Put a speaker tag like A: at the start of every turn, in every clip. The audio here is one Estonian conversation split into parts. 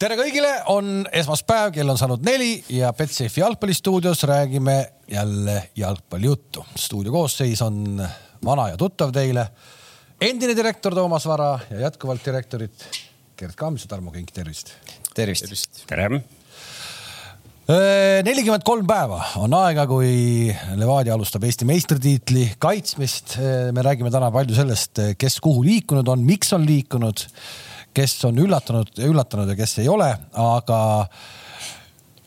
A: tere kõigile , on esmaspäev , kell on saanud neli ja Betsafe jalgpallistuudios räägime jälle jalgpallijuttu . stuudio koosseis on vana ja tuttav teile . endine direktor Toomas Vara ja jätkuvalt direktorid Gerd Kams ja Tarmo Kink , tervist
B: tervist .
C: tervist .
D: tere .
A: Äh, nelikümmend kolm päeva on aega , kui Levadia alustab Eesti meistritiitli kaitsmist . me räägime täna palju sellest , kes kuhu liikunud on , miks on liikunud , kes on üllatunud , üllatunud ja kes ei ole , aga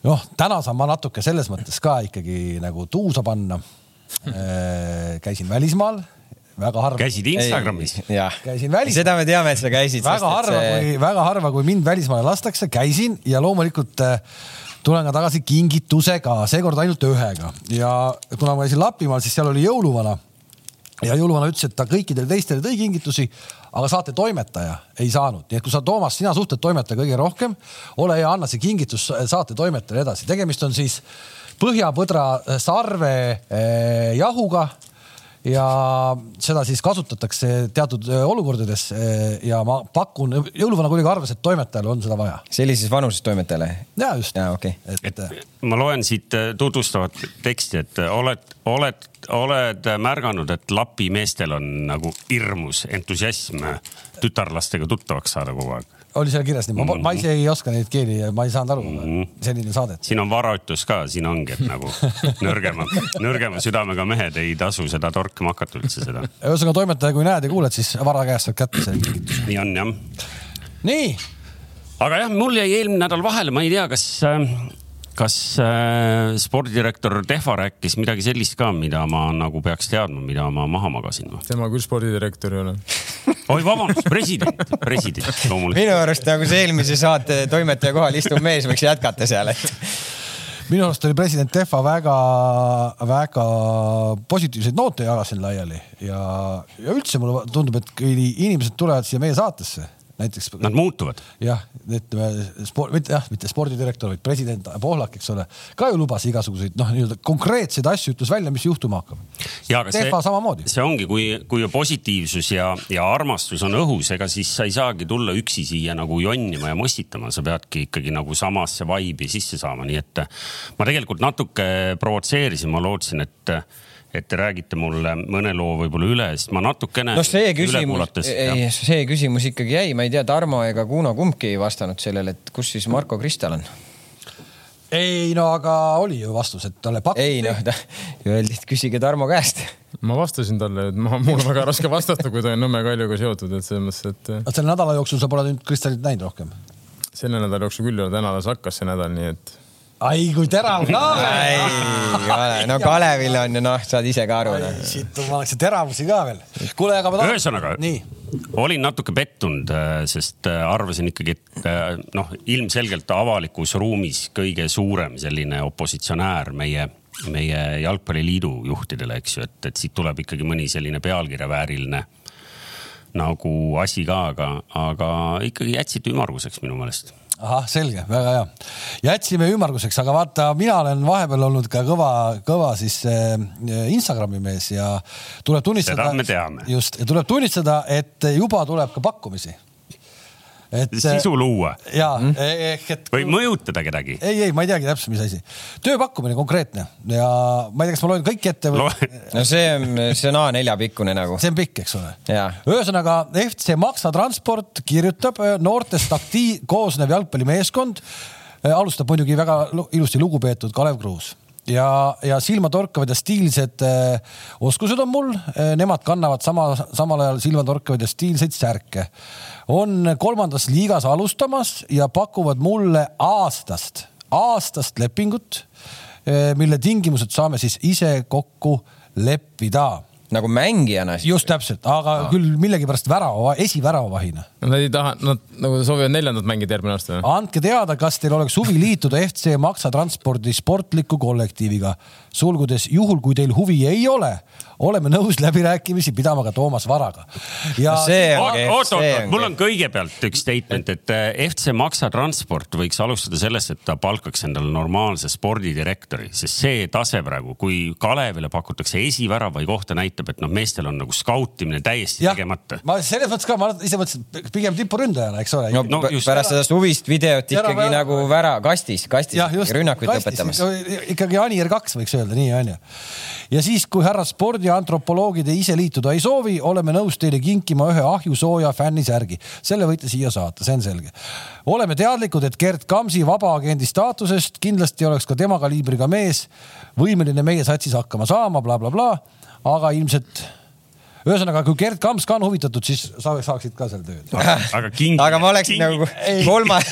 A: noh , täna saan ma natuke selles mõttes ka ikkagi nagu tuusa panna . käisin välismaal , väga harva .
D: käisid Instagramis ?.
B: jah .
A: Käisin välis-
B: seda me teame , et sa käisid .
A: väga harva see... , kui , väga harva , kui mind välismaale lastakse , käisin ja loomulikult äh, tulen ka tagasi kingitusega , seekord ainult ühega ja kuna ma käisin Lapimaal , siis seal oli jõuluvana . ja jõuluvana ütles , et ta kõikidele teistele tõi kingitusi , aga saate toimetaja ei saanud , nii et kui sa , Toomas , sina suhtled toimetaja kõige rohkem , ole hea , anna see kingitus äh, saate toimetajale edasi , tegemist on siis põhjapõdra äh, sarve eh, jahuga ja seda siis kasutatakse teatud öö, olukordades öö, ja ma pakun , jõuluvana kuidagi arvas , et toimetajal on seda vaja .
B: sellises vanuses toimetajale .
A: ja just .
B: Jaa, okei.
A: et öö,
D: ma loen siit äh, tutvustavat teksti , et äh, oled , oled , oled äh, märganud , et Lapi meestel on nagu hirmus entusiasm äh, tütarlastega tuttavaks saada kogu aeg .
A: oli seal kirjas nii , ma ,
B: Mhm.
A: ma ise ei oska neid keeli , ma ei saanud aru mm , -hmm. selline saade .
D: siin on varaütlus ka , siin ongi , et nagu nõrgema , nõrgema südamega mehed ei tasu seda torkima hakata üldse seda .
A: ühesõnaga toimetaja , kui näed ja kuuled , siis vara käest saad kätte selle kingitus .
D: nii on jah .
A: nii ,
D: aga jah , mul jäi eelmine nädal vahele , ma ei tea , kas äh, kas äh, spordidirektor Tehva rääkis midagi sellist ka , mida ma nagu peaks teadma , mida ma maha magasin või ?
C: tema küll spordidirektor ei ole .
D: oi , vabandust , president , president loomulikult .
B: minu arust nagu see eelmise saate toimetaja kohal istuv mees võiks jätkata seal , et
A: minu arust oli president Tehva väga-väga positiivseid noote jagas siin laiali ja , ja üldse mulle tundub , et kui inimesed tulevad siia meie saatesse , näiteks
D: Nad muutuvad .
A: jah , ütleme sport , mitte jah , mitte spordidirektor , vaid president Pohlak , eks ole , ka ju lubas igasuguseid noh , nii-öelda konkreetseid asju , ütles välja , mis juhtuma hakkab . Tehva samamoodi .
D: see ongi , kui , kui positiivsus ja , ja armastus on õhus , ega siis sa ei saagi tulla üksi siia nagu jonnima ja mossitama , sa peadki ikkagi nagu samasse vaibi sisse saama , nii et eh, ma tegelikult natuke provotseerisin , ma lootsin , et et te räägite mulle mõne loo võib-olla üle , sest ma natukene .
B: noh , see küsimus , ei , see küsimus ikkagi jäi , ma ei tea , Tarmo ega Kuno kumbki ei vastanud sellele , et kus siis Marko Kristal on .
A: ei no aga oli ju vastus , et talle
B: ei
A: pakuti .
B: noh , ta öeldi , et küsige Tarmo käest .
C: ma vastasin talle , et ma , mul on väga raske vastata , kui ta on Nõmme Kaljuga seotud , et selles mõttes , et äh,
A: selle nädala jooksul sa pole nüüd Kristalit näinud rohkem .
C: selle nädala jooksul küll ei ole , täna alles hakkas see nädal , nii et
A: ai kui terav
B: ei
A: ka .,
B: no Kalevil on ju noh , saad ise ka aru .
A: siit ma oleks teravusi ka veel . kuule , aga ma tahan .
D: Äh. ühesõnaga
A: nii ,
D: olin natuke pettunud , sest äh, arvasin ikkagi , et äh, noh , ilmselgelt avalikus ruumis kõige suurem selline opositsionäär meie , meie jalgpalliliidu juhtidele , eks ju , et , et siit tuleb ikkagi mõni selline pealkirjavääriline nagu asi ka , aga , aga ikkagi jätsite ümmarguseks minu meelest .
A: ahah , selge , väga hea . jätsime ümmarguseks , aga vaata , mina olen vahepeal olnud ka kõva , kõva siis äh, Instagrami mees ja tuleb tunnistada .
D: Seda me teame.
A: just , ja tuleb tunnistada , et juba tuleb ka pakkumisi . et .
D: sisu luua
A: ja ehk et .
D: või mõjutada kedagi .
A: ei , ei , ma ei teagi täpselt , mis asi . tööpakkumine konkreetne ja ma ei tea , kas ma loen kõik ette või
D: Loe.
B: no see on , see on A4 pikkune nagu .
A: see on pikk , eks ole
B: Jaa. .
A: ühesõnaga FC Maksa Transport kirjutab öö, noortest aktiiv , koosnev jalgpallimeeskond . alustab muidugi väga lu- ilusti lugupeetud Kalev Kruus ja , ja silmatorkavad ja stiilsed öö, oskused on mul . Nemad kannavad sama , samal ajal silmatorkavad ja stiilseid särke . on kolmandas liigas alustamas ja pakuvad mulle aastast , aastast lepingut , mille tingimused saame siis ise kokku leppida
B: nagu mängijana siis .
A: just täpselt , aga Aa. küll millegipärast värava , esiväravavahina .
C: nad ei taha , nad nagu soovivad neljandat mängida järgmine aasta .
A: andke teada , kas teil oleks huvi liituda FC Maksa Transpordi sportliku kollektiiviga . sulgudes juhul , kui teil huvi ei ole , oleme nõus läbirääkimisi pidama ka Toomas Varaga . ja
B: No see on kehv ,
D: oot , oot ,
B: see
D: oot ,
B: on
D: mul
B: kehv .
D: on kõigepealt üks statement , et äh, FC Maksa Transport võiks alustada sellest , et ta palkaks endale normaalse spordidirektori , sest see tase praegu , kui Kalevile pakutakse esivärava kohta , näitab , et noh , meestel on nagu skautimine täiesti ja.
A: jah
D: tegemata ,
A: ma selles mõttes ka , ma ise mõtlesin , et pigem tipuründajana , eks ole .
B: no,
D: No
B: no
D: just.
B: pärast sellest huvist videot
A: Ära
B: ikkagi
A: vära-
B: nagu vära kastis , kastis
A: jah , just .
B: ikkagi rünnakuid lõpetamas .
A: ikkagi Anier kaks võiks öelda nii onju . ja siis , kui härra spordiantropoloogid ise liituda ei soovi , oleme nõus teile kinkima ühe ahjusooja fännisärgi . selle võite siia saata , see on selge . oleme teadlikud , et Gerd Kamsi vabaagendi staatusest kindlasti oleks ka tema kaliibriga mees võimeline meie satsis hakkama saama bla, , blablabla , aga ilmselt ühesõnaga , kui Gerd Kams ka on huvitatud , siis sa saaksid ka seal tööd .
D: aga king .
B: aga ma oleksin nagu kolmas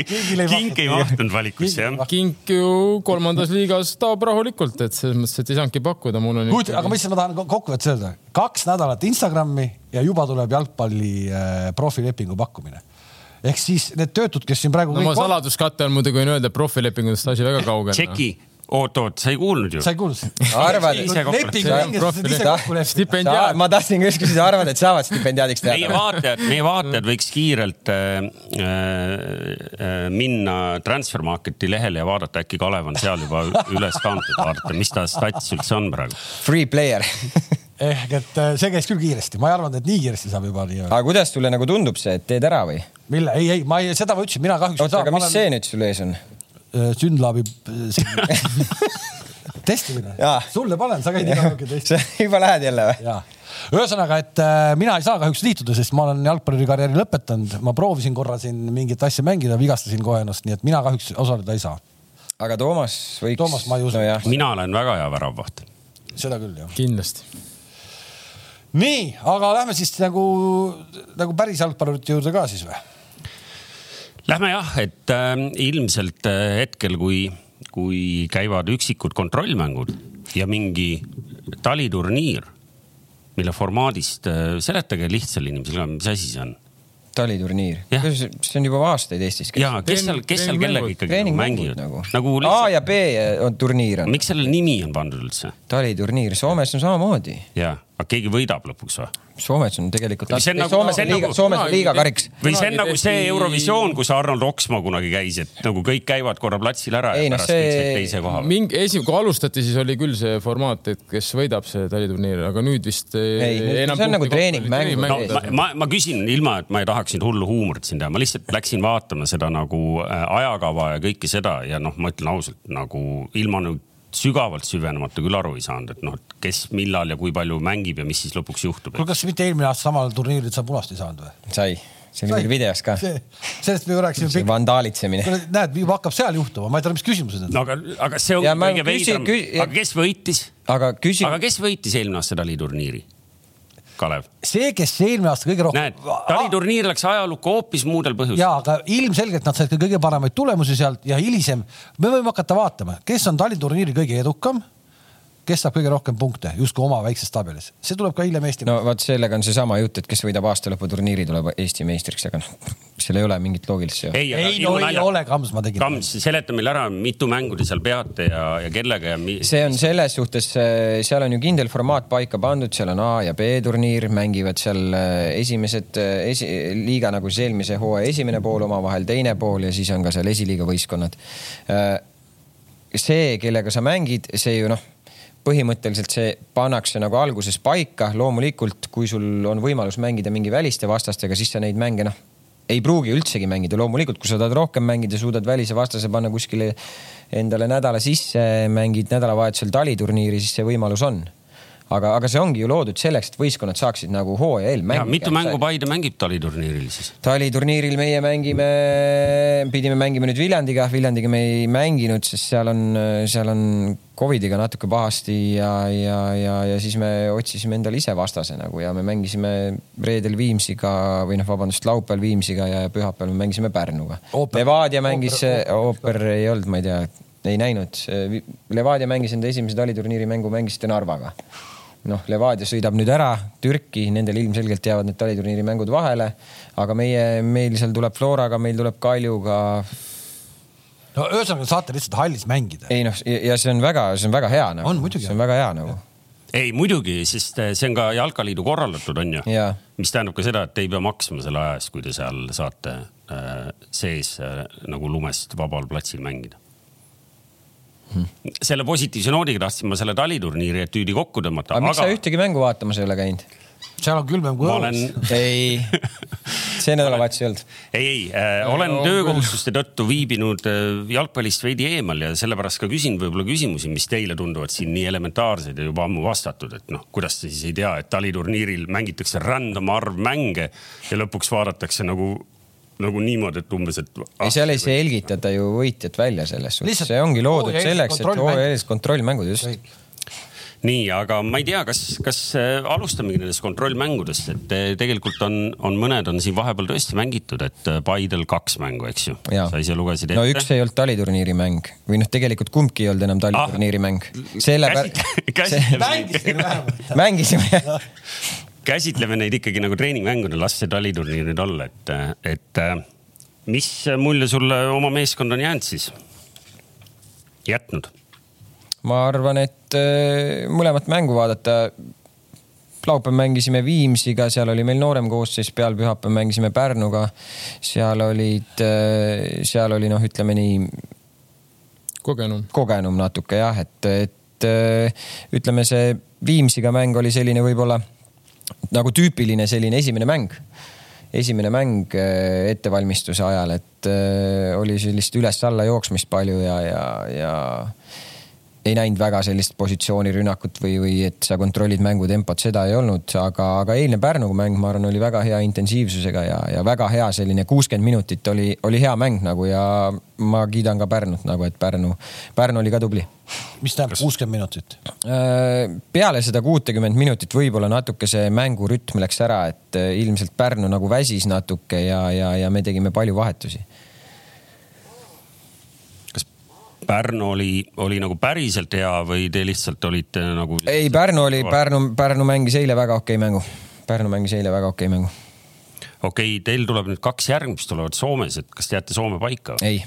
A: Kingile ei
D: king ei mahtunud valikusse jah .
B: Ah.
C: kink ju kolmandas liigas taob rahulikult , et selles mõttes , et ei saanudki pakkuda , mul on .
A: kujuta , aga mis ma tahan ko- kokkuvõttes öelda , kaks nädalat Instagrami ja juba tuleb jalgpalli äh, profilepingu pakkumine . ehk siis need töötud , kes siin praegu
C: no ma
A: kõik va-
C: saladuskatte all muidugi võin öelda , et profilepingudest asi väga kaugel . noh.
D: Tšeki , oot-oot , sa ei kuulnud ju
A: sa ? ei kuulnud ?
B: Arvad-
D: Ise kokku-
A: lepingu
C: See on
A: tingimused
C: profil-
A: ise kokku leppinud .
C: stipendiaat .
B: ma tahtsin just küsida , arvad , et saavad stipendiaadiks
D: meie
B: teha ?
D: vaatajad , meie vaatajad võiks kiirelt äh, äh, minna Transfer Marketi lehele ja vaadata , äkki Kalev on seal juba üles kantud , vaadata , mis ta stats üldse on praegu .
B: Free player .
A: ehk et äh, see käis küll kiiresti , ma ei arvanud , et nii kiiresti saab juba nii-öelda .
B: aga kuidas sulle nagu tundub see , et teed ära või ?
A: mille , ei , ei , ma ei , seda ma äh, ütlesin , mina kahjuks
B: oota , aga mis see nüüd sul ees on ?
A: see ? Synlabi testimine
B: Jaa. .
A: sulle panen , sa käid iga päev testimas .
B: sa juba lähed jälle või ?
A: ja ühesõnaga , et äh, mina ei saa kahjuks liituda , sest ma olen jalgpallikarjääri lõpetanud , ma proovisin korra siin mingit asja mängida , vigastasin kohe ennast , nii et mina kahjuks osaleda ei saa .
B: aga Toomas võiks .
A: Toomas, ma ei usu.
B: nojah ,
D: mina olen väga hea väravvaht .
A: seda küll jah .
C: kindlasti .
A: nii , aga lähme siis nagu , nagu päris jalgpallurite juurde ka siis või ?
D: Lähme jah , et äh, ilmselt äh, hetkel , kui , kui käivad üksikud kontrollmängud ja mingi taliturniir , mille formaadist äh, , seletage lihtsale inimesele ka , mis asi see on ?
B: taliturniir .
D: Jah.
B: see on juba aastaid Eestis käinud .
D: ja kes seal , kes seal kellega ikkagi nagu mängivad
B: nagu,
D: nagu
B: nagu A
D: lihtsalt ,
B: ja B on turniir on .
D: miks sellele nimi on pandud üldse ?
B: taliturniir , Soomes on samamoodi .
D: ja , aga keegi võidab lõpuks või ?
B: Soomes on tegelikult .
D: See on nagu-
B: Soomes
D: see
B: on
D: on
B: liiga ,
D: nagu-
B: Soomes on liiga kariks .
D: või see on
C: Kunagi
D: nagu see
C: tehti-
D: Eurovisioon , kus Arnold Oksmaa kunagi käis , et nagu kõik käivad korra platsil ära
B: Ei,
D: ja
B: noh,
D: pärast kõik
B: see-
D: said teise koha peal .
C: mingi esi , kui alustati , siis oli küll see formaat , et kes võidab see taliturniir , aga nüüd vist . äh,
B: Ei, nüüd- see on nagu treeningmäng.
D: no ma , ma , ma küsin ilma , et ma ei tahaks nüüd hullu huumorit siin teha , ma lihtsalt läksin vaatama seda nagu äh, ajakava ja kõike seda ja noh , ma ütlen ausalt nagu ilma nüüd sügavalt süvenemata küll aru ei saanud , et noh , et kes , millal ja kui palju mängib ja mis siis lõpuks juhtub .
A: kuule , kas mitte eelmine aasta samal turniiril sa punast ei saanud või ?
B: sai , see oli meil videos ka .
A: sellest me ju rääkisime pikalt .
B: vandaalitsemine .
A: näed , juba hakkab seal juhtuma , ma ei tea , mis küsimused need on .
D: no aga , aga see on
B: Ja ma
D: kõige
B: küsin-
D: veidram .
B: kü-
D: aga kes võitis ,
B: aga küsi- ,
D: aga kes võitis eelmine aasta taliturniiri ? Kalev ,
A: see , kes eelmine aasta kõige rohkem
D: näed ,. taliturniir läks ajalukku hoopis muudel põhjustel .
A: Oh, ah. ja aga ilmselgelt nad said ka kõige paremaid tulemusi sealt ja hilisem me võime hakata vaatama , kes on Tallinn turniiri kõige edukam , kes saab kõige rohkem punkte justkui oma väikses tabelis , see tuleb ka hiljem Eesti no. .
B: no vot , sellega on seesama jutt , et kes võidab aastalõputurniiri , tuleb Eesti meistriks , aga noh , seal ei ole mingit loogilist seost .
D: ei ,
A: ei no ei ole , Kams , ma tegin .
D: Kams , seleta meile ära , mitu mängu te seal peate ja , ja kellega ja mi- .
B: see on selles suhtes , seal on ju kindel formaat paika pandud , seal on A ja B turniir , mängivad seal eh, esimesed eh, esi- , liiga nagu siis eelmise hooaja esimene pool omavahel , teine pool ja siis on ka seal esiliiga võistkonnad . Eh, see , kellega sa mängid , see ju noh , põhimõtteliselt see pannakse nagu alguses paika , loomulikult , kui sul on võimalus mängida mingi väliste vastastega , siis sa neid mänge noh , ei pruugi üldsegi mängida , loomulikult , kui sa tahad rohkem mängida , suudad välise vastase panna kuskile endale nädala sisse , mängid nädalavahetusel taliturniiri , siis see võimalus on . aga , aga see ongi ju loodud selleks , et võistkonnad saaksid nagu hooaja eel
D: ja
B: mängida .
D: mitu mängu Paide mängib taliturniiril siis ?
B: taliturniiril meie mängime , pidime mängima nüüd Viljandiga , Viljandiga me ei mänginud , sest seal on , seal on Covidiga natuke pahasti ja , ja , ja , ja siis me otsisime endale ise vastase nagu ja me mängisime reedel Viimsiga või noh , vabandust , laupäeval Viimsiga ja pühapäeval me mängisime Pärnuga .
A: Ooper-
B: Levadia mängis , ooper ei olnud , ma ei tea , ei näinud . Levadia mängis enda esimese taliturniiri mängu , mängisite Narvaga noh , Levadia sõidab nüüd ära Türki , nendel ilmselgelt jäävad need taliturniiri mängud vahele . aga meie , meil seal tuleb Floraga , meil tuleb Kaljuga .
A: no ühesõnaga saate lihtsalt hallis mängida .
B: ei noh , ja see on väga , see on väga hea nagu .
A: On, muidugi
B: see
A: on.
B: on väga hea nagu .
D: ei muidugi , sest eh, see on ka Jalkaliidu korraldatud , on ju
B: Jaa. .
D: mis tähendab ka seda , et te ei pea maksma selle aja eest , kui te seal saate äh, sees äh, nagu lumest vabal platsil mängida
B: Hm.
D: hmm. selle positiivse noodiga tahtsin ma selle taliturniiri etüüdi kokku tõmmata ,
B: aga miks
D: aga
B: sa ühtegi mängu vaatamas ei ole käinud ?
A: seal on külmem kui
D: ma
A: õues .
D: olen ,
B: ei , see nädalavahetus ei olnud .
D: ei , ei äh, , olen
C: on
D: töökohustuste tõttu viibinud äh, jalgpallist veidi eemal ja sellepärast ka küsin võib-olla küsimusi , mis teile tunduvad siin nii elementaarsed ja juba ammu vastatud , et noh , kuidas te siis ei tea , et taliturniiril mängitakse random arv mänge ja lõpuks vaadatakse nagu , nagu niimoodi , et umbes , et . ah,
B: ei , seal ei selgitata ju võitjat välja selles suhtes ,
A: Lihtsalt
B: see ongi loodud
A: hooaja
B: selleks ,
A: eelised
B: et
A: kontrollmängud.
B: hooajalist kontrollmängud just .
D: nii , aga ma ei tea , kas , kas äh, alustamegi nendest kontrollmängudest , et äh, tegelikult on , on mõned on siin vahepeal tõesti mängitud , et äh, Paidel kaks mängu , eks ju .
B: Jaa.
D: sa ise lugesid
B: no üks ei olnud taliturniiri mäng või noh , tegelikult kumbki ei olnud enam
A: Ah.
B: taliturniiri mäng . selle
D: Käsit- käsitleme neid.
A: mängisin vähemalt .
B: mängisime jah .
D: käsitleme neid ikkagi nagu treeningmänguna , las see taliturniir nüüd olla , et , et äh, mis mulje sulle oma meeskond on jäänud siis ? jätnud ?
B: ma arvan , et äh, mõlemat mängu vaadata . laupäev mängisime Viimsiga , seal oli meil noorem koosseis peal , pühapäev mängisime Pärnuga . seal olid , seal oli noh , ütleme nii
C: kogenum .
B: kogenum natuke jah , et , et äh, ütleme , see Viimsiga mäng oli selline võib-olla nagu tüüpiline selline esimene mäng . esimene mäng äh, ettevalmistuse ajal , et äh, oli sellist üles-alla jooksmist palju ja , ja , ja ei näinud väga sellist positsioonirünnakut või , või et sa kontrollid mängutempot , seda ei olnud , aga , aga eilne Pärnu mäng , ma arvan , oli väga hea intensiivsusega ja , ja väga hea selline kuuskümmend minutit oli , oli hea mäng nagu ja ma kiidan ka Pärnut nagu , et Pärnu , Pärnu oli ka tubli .
A: mis tähendab kuuskümmend minutit ?
B: peale seda kuutekümmet minutit võib-olla natuke see mängurütm läks ära , et äh, ilmselt Pärnu nagu väsis natuke ja , ja , ja me tegime palju vahetusi
D: kas Pärnu oli , oli nagu päriselt hea või te lihtsalt olite nagu ?
B: ei , Pärnu oli , Pärnu , Pärnu mängis eile väga okei mängu . Pärnu mängis eile väga okei mängu .
D: okei okay, , teil tuleb nüüd kaks järgmist olevat Soomes , et kas te jääte Soome paika ?
B: ei ,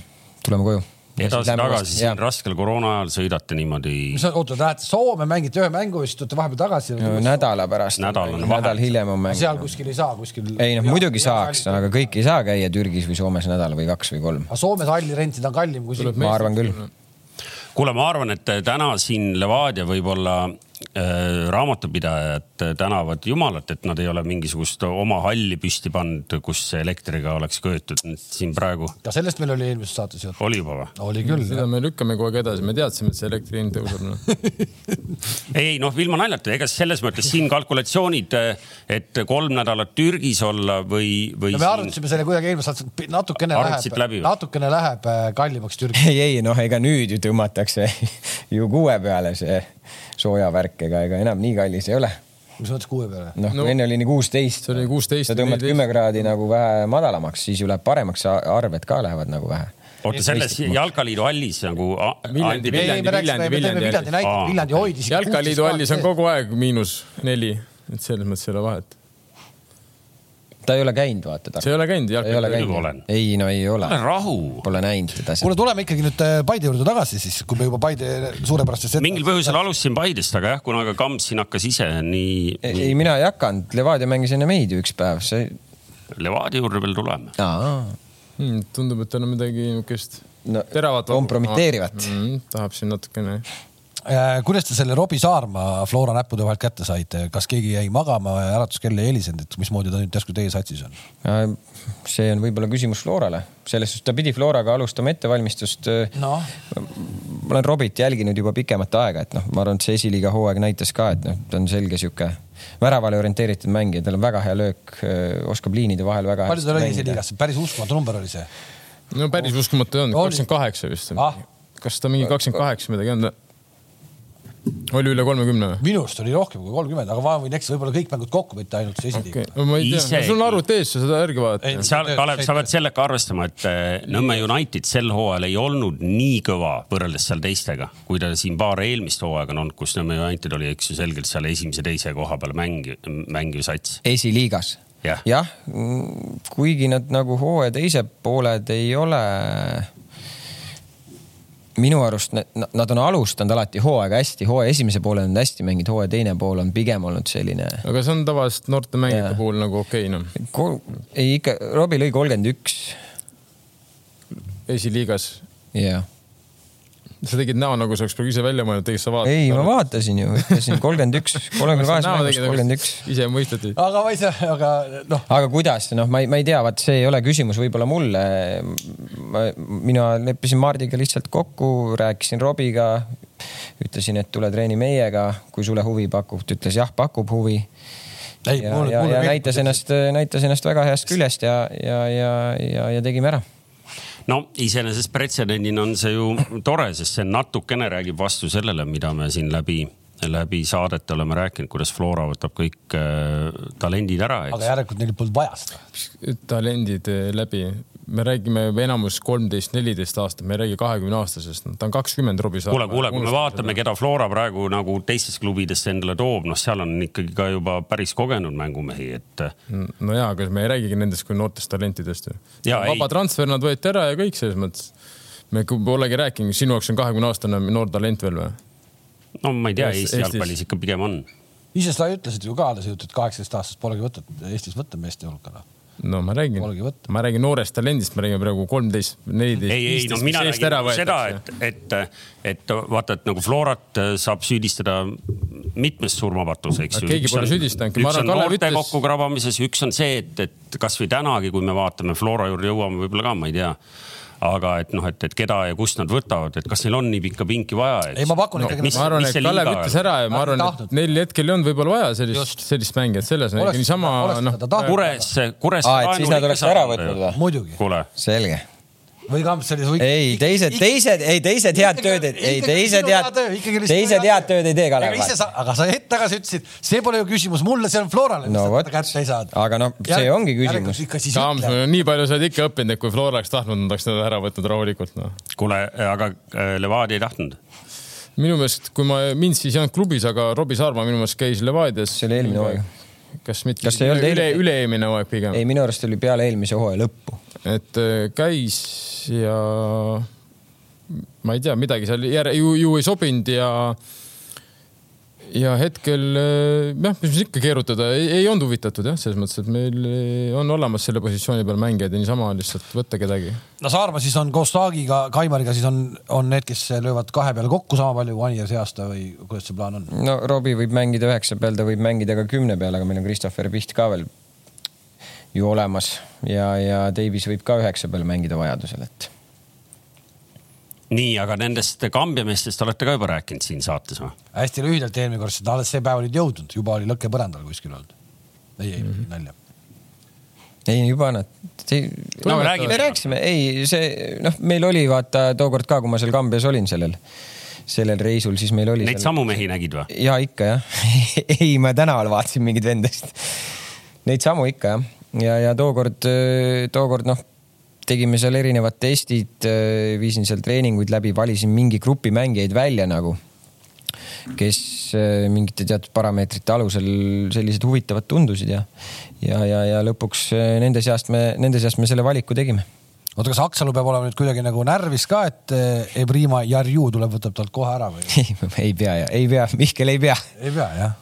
B: tuleme koju .
D: edasi-tagasi siin . raskel koroona ajal sõidate niimoodi .
A: mis , oota , te lähete Soome , mängite ühe mängu ja siis tulete vahepeal tagasi no, ?
B: nädala pärast .
D: Nädalane vahe.
B: nädal hiljem on mäng .
A: seal kuskil ei saa , kuskil .
B: ei noh , muidugi saaks ,. aga kõik ei saa käia Türgis või Soomes nädal või kaks või kolm .
A: aga Soomes halli rentida on kallim kui siin .
B: ma arvan küll .
D: kuule , ma arvan , et täna siin Levadia võib-olla äh, raamatupidajad tänavad jumalat , et nad ei ole mingisugust oma halli püsti pannud , kus elektriga oleks köetud . siin praegu
A: ka sellest meil oli eelmises saates juttu .
D: oli juba või ?
A: oli küll ,
C: seda me lükkame kogu aeg edasi , me teadsime , et see elektri hind tõuseb noh. .
D: ei noh , ilma naljata , ega selles mõttes siin kalkulatsioonid , et kolm nädalat Türgis olla või , või
A: no me arvutasime selle kuidagi eelmises saates , et natukene
D: Arvutasid läbi
A: läheb ,
D: või?
A: natukene läheb äh, kallimaks Türgi .
B: ei , ei noh , ega nüüd ju tõmmatakse ju kuue peale see soojavärk , ega , ega enam nii kallis ei ole .
A: mis mõttes kuue peale ?
B: noh
C: No.
B: no, , enne oli nii kuusteist .
C: See oli 16
B: sa tõmbad
C: 14.
B: kümme kraadi nagu vähe madalamaks , siis ju läheb paremaks , arved ka lähevad nagu vähe .
D: oota , selles Jalkaliidu hallis nagu a- anti-
C: Viljandi-
A: ei , ei , me
C: Viljandi,
A: rääkisime , me
C: Viljandi
A: tõime Viljandi näite
D: Aa. ,
A: Viljandi hoidis .
C: jalkaliidu hallis on . kogu aeg miinus neli , et selles mõttes ei ole vahet .
B: ta ei ole käinud , vaata .
C: sa ei ole käinud
B: ei ole
C: jalgpalli ?
D: Muidugi olen.
B: käinud . ei no ei ole ,
D: rahu
B: pole näinud teda seal .
A: kuule , tuleme ikkagi nüüd äh, Paide juurde tagasi siis , kui me juba Paide suurepärastest .
D: mingil põhjusel alustasin Paidest , aga jah , kuna ka Kamps siin hakkas ise nii
B: ei , mina ei hakanud , Levadia mängis enne meid ju üks päev , see .
D: Levadia juurde veel tulema .
C: Hmm, tundub , et tal on midagi niukest
B: No,
C: teravat .
B: kompromiteerivat. .
C: tahab siin natukene .
A: Äh, kuidas te selle Robbie Saarma Flora näppude vahelt kätte saite , kas keegi jäi magama , äratuskell ei helisenud , et mismoodi ta nüüd järsku teie satsis on ?
B: see on võib-olla küsimus Florale , selles suhtes ta pidi Floraga alustama ettevalmistust .
A: Noh.
B: ma olen Robit jälginud juba pikemat aega , et noh , ma arvan , et see esiliiga hooaeg näitas ka , et noh , ta on selge sihuke väravale orienteeritud mängija , tal on väga hea löök , oskab liinide vahel väga .
A: palju tal oli esiliigas , päris uskumatu number oli see .
C: no
B: Oh.
C: päris uskumatu ei olnud ,
A: Oli.
C: kakskümmend kaheksa vist
A: Ah. .
C: kas ta mingi kakskümmend kaheksa midagi on ? oli üle kolmekümne või ?
A: minu arust oli rohkem kui kolmkümmend , aga ma võin eksida , võib-olla kõik mängud kokku , mitte ainult see esiliiga
C: okei
A: okay. .,
C: no ma ei tea ,
D: Isegi-
C: sul on arvut ees , sa seda järgi vaata
A: Ei. .
D: seal , Kalev , sa pead sellega arvestama , et äh, Nõmme United sel hooajal ei olnud nii kõva võrreldes seal teistega , kui ta siin paar eelmist hooaega on olnud , kus Nõmme United oli , eks ju , selgelt seal esimese-teise koha peal mängi- , mängiv sats .
B: esiliigas
D: Jah.
B: jah , kuigi nad nagu hooaja teised pooled ei ole . minu arust nad, nad on alustanud alati hooaega hästi , hooaja esimese poole on hästi mänginud , hooaja teine pool on pigem olnud selline .
C: aga see on tavaliselt noorte mängijate
B: Jaa.
C: puhul nagu okei okay, , noh ,
B: ei ikka , Robbie lõi kolmkümmend üks
C: esiliigas
B: ja
C: sa tegid näo , nagu sa oleks praegu ise välja mõelnud , tegelikult sa vaatad .
B: ei , ma vaatasin ju , ütlesin kolmkümmend üks , kolmekümne kahes mängus kolmkümmend üks .
C: nagu
B: Ah.
C: ise mõisteti .
A: aga ma ei saa , aga noh ,
B: aga kuidas , noh , ma ei , ma ei tea , vaat see ei ole küsimus võib-olla mulle . mina leppisin Mardiga lihtsalt kokku , rääkisin Robiga , ütlesin , et tule treeni meiega , kui sulle huvi pakub , ta ütles jah , pakub huvi . ja
A: Ei, , mulle-
B: ja,
A: mulle
B: ja
A: meeldib,
B: näitas
A: et-
B: ennast , näitas ennast väga heast küljest ja , ja , ja , ja , ja tegime ära .
D: no iseenesest pretsedendina on see ju tore , sest see natukene räägib vastu sellele , mida me siin läbi , läbi saadet oleme rääkinud , kuidas Flora võtab kõik äh, talendid ära ,
A: aga
D: eks .
A: järelikult neil polnud vaja seda .
C: talendid eh, läbi , me räägime enamus kolmteist , neliteist aastat , me ei räägi kahekümne aastasest , ta on kakskümmend Robbie Saar .
D: kuule , kuule , kui me vaatame , keda Flora praegu nagu teistest klubidest endale toob , noh , seal on ikkagi ka juba päris kogenud mängumehi , et äh,
C: Mm, no ja , aga me ei räägigi nendest kui noortest talentidest ju .
D: Jaa,
C: vaba
D: ei.
C: transfer nad võeti ära ja kõik selles mõttes . me kui- polegi rääkinud , sinu jaoks on kahekümne aastane noor talent veel või ?
D: no ma ei tea ,
C: Eestis-
D: Eesti jalgpallis ikka pigem on .
A: ise sa ütlesid ju ka alles jutt , et kaheksateist aastast polegi võtnud Eestis võtta meeste hulka noh .
C: no ma räägin
A: Polegi võtta. ,
C: ma räägin noorest talendist , me räägime praegu kolmteist , neliteist ,
D: ei , ei , no
C: viisteist , mis
D: mina
C: eest
D: räägin
C: ära
D: nagu seda ,
C: võetakse .
D: et , et , et vaata , et nagu Florat äh, saab süüdistada mitmes surmapatus , eks
C: Aga
D: ju .
C: keegi pole süüdistanudki. Ma
D: üks
C: arvan,
D: on
C: Kalev
D: noorte
C: ütles-
D: ütles... kokkukrabamises , üks on see , et , et kasvõi tänagi , kui me vaatame Flora juurde jõuame võib-olla ka , ma ei tea aga et noh , et , et keda ja kust nad võtavad , et kas neil on nii pikka pinki vaja ?
A: Ei, ma pakun ikkagi,
D: mis,
C: ma arvan ,
D: mis
C: et
D: see
C: Kalev
D: liiga
C: ütles
D: on?
C: ära ja ma
A: Ma
C: arvan ,
A: ei
C: et neil hetkel ei olnud võib-olla vaja sellist
A: Just. ,
C: sellist mängijat , selles on
A: Oleks-
C: ikka niisama
A: oleks
C: noh
A: seda tahtnud. .
D: Kuresse , Kuresse .
B: aa , et siis nad oleks ära võtnud või ?
A: muidugi ,
D: kuule ,
B: selge .
A: või Kamps oli .
B: ei , teised , teised , ei teised head tööd , ei teised head , teised head tööd ei tee , Kalev .
A: aga sa hetk tagasi ütlesid , see pole ju küsimus mulle , see on Florale , mis
B: No
A: sa
B: vot.
A: teda kätte ei saanud .
B: Aga no see ongi küsimus.
A: ikka siis
C: Saams ,
A: ütle .
C: nii palju sa oled ikka õppinud , et kui Flora oleks tahtnud , nad oleks teda ära võtnud rahulikult noh .
D: kuule , aga äh, Levadia ei tahtnud .
C: minu meelest , kui ma , mind siis ei olnud klubis , aga Robbie Saarma minu meelest käis Levadias .
B: See oli eelmine hooaeg. .
C: kas mitte ?
B: Kas see ei olnud
C: üle
B: eelmine- ,
C: üle-eelmine hooaeg pigem
B: ei , . minu arust oli peale eelmise hooaja lõppu .
C: et äh, käis ja ma ei tea , midagi seal järe- , ju , ju ei sobinud ja ja hetkel äh, jah , mis siis ikka keerutada , ei olnud huvitatud jah , selles mõttes , et meil äh, on olemas selle positsiooni peal mängijad ja niisama lihtsalt võtta kedagi .
A: no Saarma siis on koos Taagiga , Kaimariga siis on , on need , kes löövad kahe peale kokku sama palju kui Anija see aasta või kuidas see plaan on ?
B: no Robbie võib mängida üheksa peal , ta võib mängida ka kümne peal , aga meil on Christopher Piht ka veel ju olemas ja , ja Davis võib ka üheksa peal mängida vajadusel , et
D: nii , aga nendest Kambja meestest olete ka juba rääkinud siin saates või ?
A: hästi lühidalt eelmine kord , sest alles see päev olid jõudnud , juba oli lõke põrandal kuskil olnud . ei , ei , nalja .
B: ei juba nad ei... .
D: No me räägime.
B: me rääkisime , ei see noh , meil oli vaata tookord ka , kui ma seal Kambjas olin sellel , sellel reisul , siis meil oli
D: Neid . samu mehi nägid või ?
B: ja ikka jah , ei , ma tänaval vaatasin mingeid vendasid , neid samu ikka jah , ja , ja tookord , tookord noh , tegime seal erinevad testid , viisin seal treeninguid läbi , valisin mingi grupi mängijaid välja nagu , kes öö, mingite teatud parameetrite alusel sellised huvitavad tundusid ja , ja , ja , ja lõpuks öö, nende seast me , nende seast me selle valiku tegime
A: oota , kas Aksalu peab olema nüüd kuidagi nagu närvis ka , et eh, Ebrima Jarju tuleb , võtab talt kohe ära või ?
B: ei , ei pea ja ei pea , Mihkel ei pea .
A: ei pea jah ,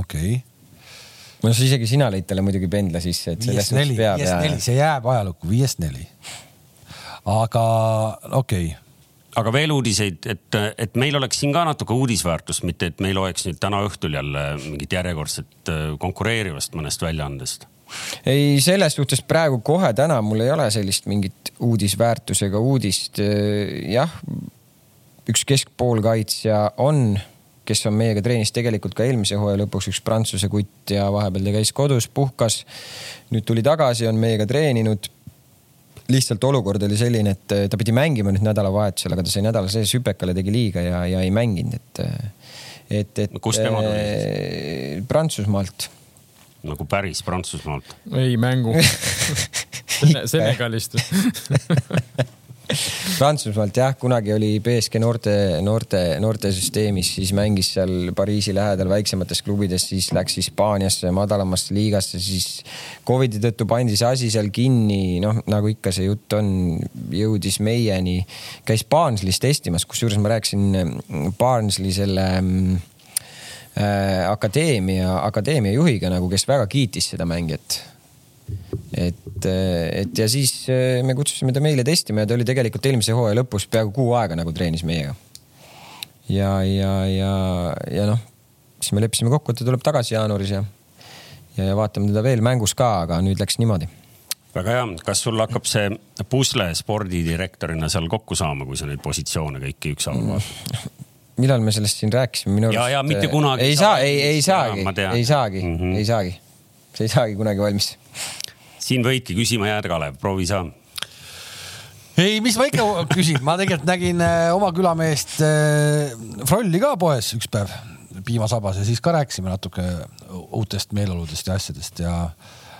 A: okei okay. .
B: no sa isegi sina lõid talle muidugi pendla sisse , et selles
A: viiest neli ,
B: peab
A: viiest neli , see jääb ajalukku , viiest neli . aga okei okay. ,
D: aga veel uudiseid , et , et meil oleks siin ka natuke uudisväärtust , mitte et me ei loeks nüüd täna õhtul jälle mingit järjekordset äh, konkureerivast mõnest väljaandest .
B: ei , selles suhtes praegu kohe täna mul ei ole sellist mingit uudisväärtusega uudist . jah , üks keskpoolkaitsja on , kes on meiega treenis tegelikult ka eelmise hooaja lõpuks üks prantsuse kutt ja vahepeal ta käis kodus , puhkas . nüüd tuli tagasi , on meiega treeninud lihtsalt olukord oli selline , et eh, ta pidi mängima nüüd nädalavahetusel , aga ta sai nädala sees hüpekale tegi liiga ja , ja ei mänginud , et , et , et .
D: Kust tema tuli
B: tuli ? Prantsusmaalt
D: nagu päris Prantsusmaalt .
C: ei mängu . Senegalist .
B: Prantsusmaalt jah , kunagi oli BSG noorte , noorte , noortesüsteemis , siis mängis seal Pariisi lähedal väiksemates klubides , siis läks Hispaaniasse madalamasse liigasse , siis Covidi tõttu pandi see asi seal kinni , noh nagu ikka see jutt on , jõudis meieni , käis Barneslis testimas , kusjuures ma rääkisin Barnesli selle mm, äh, akadeemia , akadeemia juhiga nagu , kes väga kiitis seda mängijat . et , et ja siis eh, me kutsusime ta meile testima ja ta oli tegelikult eelmise hooaja lõpus peaaegu kuu aega nagu treenis meiega . ja , ja , ja , ja noh , siis me leppisime kokku , et ta tuleb tagasi jaanuaris ja , ja , ja vaatame teda veel mängus ka , aga nüüd läks niimoodi .
D: väga hea , kas sul hakkab see pusle spordidirektorina seal kokku saama , kui sa neid positsioone kõiki ükshaaval vaatad ?
B: millal me sellest siin rääkisime , minu eh,
D: Ja- ja mitte kunagi
B: ei
D: ei
B: saa ,
D: saa
B: ei , ei
D: valmis.
B: saagi
D: Jaa, ma , tean.
B: ei saagi mm ,
D: Mhm.
B: -hmm. ei saagi , see ei saagi kunagi valmis . Mm.
D: siin võidki küsima jääda , Kalev , proovi sa .
A: ei , mis ma ikka küsin , ma tegelikult nägin äh, oma külameest äh, Frolli ka poes üks päev piimasabas ja siis ka rääkisime natuke uutest meeleoludest ja asjadest ja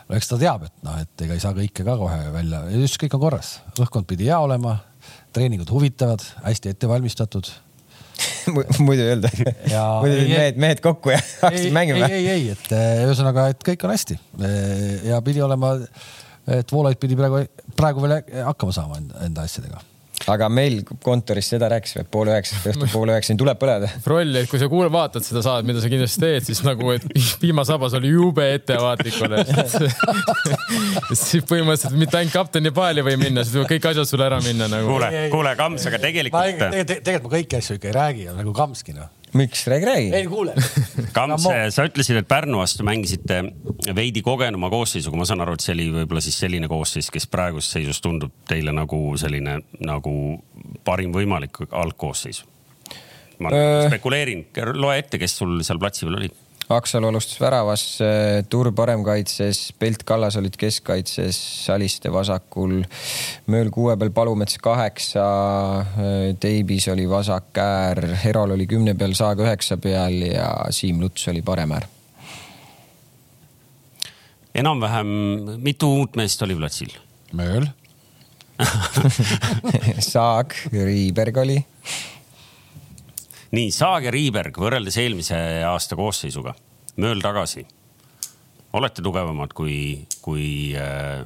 A: no eks ta teab , et noh , et ega ei saa kõike ka kohe välja , just kõik on korras , õhkkond pidi hea olema , treeningud huvitavad , hästi ette valmistatud .
B: muidu ei olnud .
A: Jaa,
B: muidu
A: ei,
B: olid
A: ei.
B: mehed , mehed kokku ja
A: ei ,
B: hakkasid
A: ei ,
B: mängima .
A: ei, ei , et äh, ühesõnaga , et kõik on hästi Eh, ja pidi olema , et Voolaid pidi praegu , praegu veel hakkama saama enda, enda asjadega
B: aga meil kontoris seda rääkisime , et pool üheksat õhtul pool üheksani tuleb põleda .
C: rolli , et kui sa kuule , vaatad seda saadet , mida sa kindlasti teed , siis nagu , et piimasabas oli jube ettevaatlik olla . siis põhimõtteliselt mitte ainult kapteni paali ei või minna , siis võivad kõik asjad sul ära minna nagu .
D: kuule , kuule , Kams , aga
A: ma
D: tegelikult äh,
A: tegelikult , tegelikult ma kõiki asju ikka ei räägi , nagu Kamski noh .
B: miks , räägi , räägi .
A: kuule .
D: Kams , sa ütlesid , et Pärnu vastu mängisite veidi kogenuma koosseisuga , ma saan aru , et see oli võib-olla siis selline koosseis , kes praeguses seisus tundub teile nagu selline nagu parim võimalik algkoosseis . ma
B: Äh.
D: spekuleerin , loe ette , kes sul seal platsi peal oli .
B: Aksalu alustas väravas , Tur paremkaitses , Pelt Kallas olid keskkaitses , Saliste vasakul , Mööl kuue peal , Palumets kaheksa , Teibis oli vasak äär , Herol oli kümne peal , Saag üheksa peal ja Siim Luts oli parem äär .
D: enam-vähem , mitu uut meest oli platsil ?
A: mööl .
B: Saag , Riiberg oli ,
D: nii , Saag ja Riiberg võrreldes eelmise aasta koosseisuga , mööl tagasi . olete tugevamad kui , kui äh,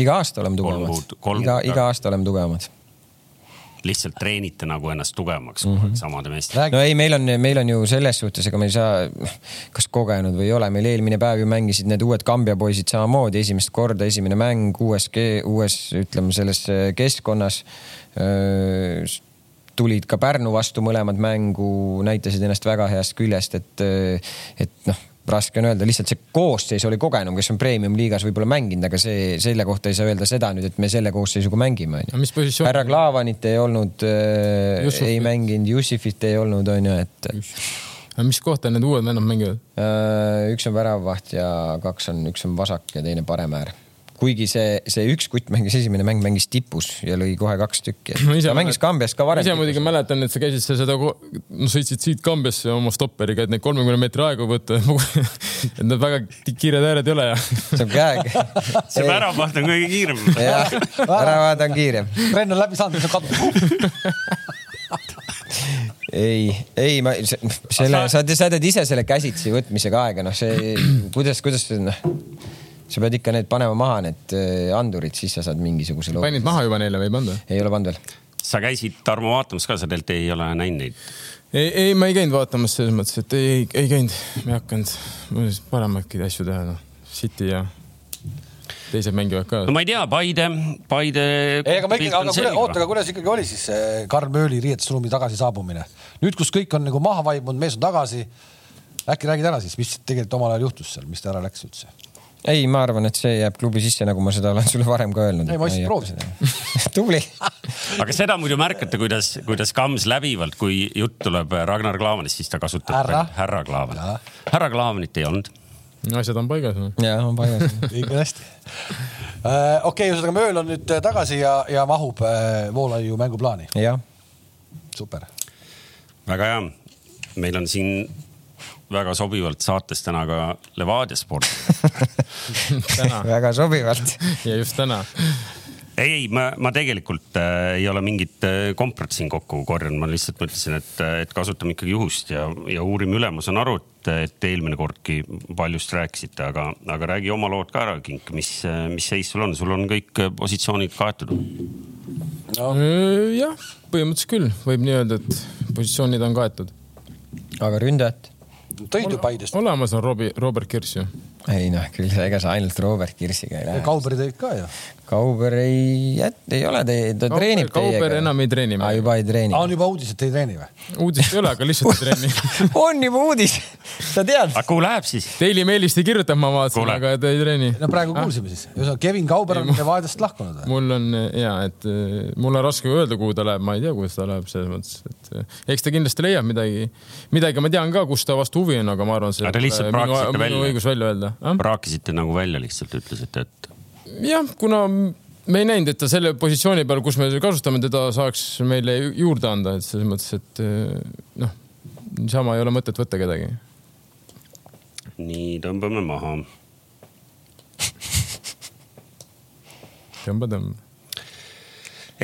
B: iga aasta oleme
D: Kolm
B: tugevamad
D: kuud- , kolm
B: iga ,
D: kuud
B: iga
D: tagasi.
B: aasta oleme tugevamad .
D: lihtsalt treenite nagu ennast tugevamaks mm
A: Mhm.
D: -hmm. samade meestega ?
A: räägi
B: no , ei , meil on , meil on ju selles suhtes , ega me ei saa , kas kogenud või ei ole , meil eelmine päev ju mängisid need uued Kambja poisid samamoodi esimest korda , esimene mäng uues , uues , ütleme selles äh, keskkonnas . tulid ka Pärnu vastu mõlemad mängu , näitasid ennast väga heast küljest , et , et noh raske on öelda , lihtsalt see koosseis oli kogenum , kes on premium-liigas võib-olla mänginud , aga see , selle kohta ei saa öelda seda nüüd , et me selle koosseisuga mängime ,
C: Aga mis
B: onju .
C: positsioon-
B: härra Klaavanit ei olnud , ei
C: Jussufit.
B: mänginud , Jussifit ei olnud , onju , et
C: aga mis kohta need uued vennad mängivad ?
B: äh, üks on väravavaht ja kaks on , üks on vasak ja teine parem äär . kuigi see , see üks kutt mängis esimene mäng , mängis tipus ja lõi kohe kaks tükki .
C: Ma ise
B: ta mängis
C: mäletan-
B: Kambjas ka varem
C: ise . muidugi mäletan , et sa käisid seal seda , no sõitsid siit Kambjasse oma stopperiga , et neid kolmekümne meetri aegu võtta . et need väga ti- kiired ääred ei ole ja .
B: see on käeg .
D: see väravaht on kõige kiirem .
B: jah , väravad on kiirem .
A: Ren on läbi saanud , nüüd on kadunud .
B: ei , ei , ma se- selle , sa tead , sa teed ise selle käsitsi võtmisega aega , noh , see kuidas , kuidas see noh , sa pead ikka need panema maha , need eh, andurid , siis sa saad mingisuguse loo .
C: panid maha juba neile või ei pannud või ?
B: ei ole pannud veel .
D: sa käisid Tarmo vaatamas ka , sa tegelikult ei ole näinud neid .
C: ei , ei , ma ei käinud vaatamas selles mõttes , et ei , ei , ei käinud , ma ei hakanud , mul oli paremaidki asju teha , noh . City ja teised mängivad ka
D: no . ma ei tea , Paide , Paide .
A: ei , aga ma ikkagi , aga kuule , oota , aga kuidas ikkagi oli siis see Karl Mööli riietusruumi tagasi saabumine ? nüüd , kus kõik on nagu maha vaibunud , mees on tagasi . äkki räägid ära siis , mis tegelikult omal ajal juhtus seal , mis ta ära läks üldse ?
B: ei , ma arvan , et see jääb klubi sisse , nagu ma seda olen sulle varem ka öelnud .
A: ei , ma lihtsalt . proovisin .
B: tubli .
D: aga seda muidu märkate , kuidas , kuidas Kams läbivalt , kui jutt tuleb Ragnar Klavanist , siis ta kasutab
A: Härra.
D: veel härra
A: Jaa.
D: Klaavanit . härra Klaavanit ei olnud .
C: asjad on paigas noh. no. .
B: ja , on paigas .
A: ikka hästi . Äh, okei , ühesõnaga Mööl on nüüd äh, tagasi ja , ja mahub äh, Voolaiu mänguplaani .
B: jah ,
A: super .
D: väga hea . meil on siin väga sobivalt saates täna ka Levadia sport .
C: täna
B: väga sobivalt .
C: ja just täna .
D: ei , ei , ma , ma tegelikult äh, ei ole mingit äh, komprat siin kokku korjanud , ma lihtsalt mõtlesin , et , et kasutame ikkagi juhust ja , ja uurime üle . ma saan aru , et , et eelmine kordki paljust rääkisite , aga , aga räägi oma lood ka ära , Kink , mis , mis seis sul on , sul on kõik äh, positsioonid kaetud .
C: jah , põhimõtteliselt küll , võib nii öelda , et positsioonid on kaetud .
B: aga ründajat ?
A: tõid ju Paidest .
C: olemas on Robbie , Robert Kirss ju .
B: ei noh , küll sa , ega sa ainult Robert Kirsiga ei lähe .
A: Kauberi teid ka ju .
B: Kauber ei , ei ole , ta
C: Kauber-
B: treenib teiega .
C: Kauber enam ei treeni
B: ah, .
C: meiega.
B: juba ei treeni
A: on . juba uudis , et te ei treeni või ?
C: uudist ei ole , aga lihtsalt ei Ah. trenni .
B: on juba uudis , sa tead .
D: aga kuhu läheb siis ?
C: Daily Mailist ei kirjuta , ma vaatasin ,
D: Kuule.
C: aga ta ei trenni .
A: no praegu
C: Ah.
A: kuulsime siis . ühesõnaga Kevin Kauber on Levadiast lahkunud või ?
C: mul on ja , et eh, mul on raske öelda , kuhu ta läheb , ma ei tea , kuidas ta läheb selles mõttes , et eh, eks ta kindlasti leiab midagi , midagi ma tean ka , kus ta vastu huvi on , aga ma arvan , see
D: Aga te lihtsalt
C: pole minu,
D: praaksite
C: minu
D: välja.
C: õigus välja öelda .
D: praakisite nagu välja lihtsalt , ütlesite , et
C: jah , kuna me ei näinud , et ta selle positsiooni peal , kus me kasutame teda , saaks meile ju- juurde anda , et selles mõttes , et eh, noh , niisama ei ole mõtet võtta kedagi .
D: nii , tõmbame maha .
C: tõmba , tõmba .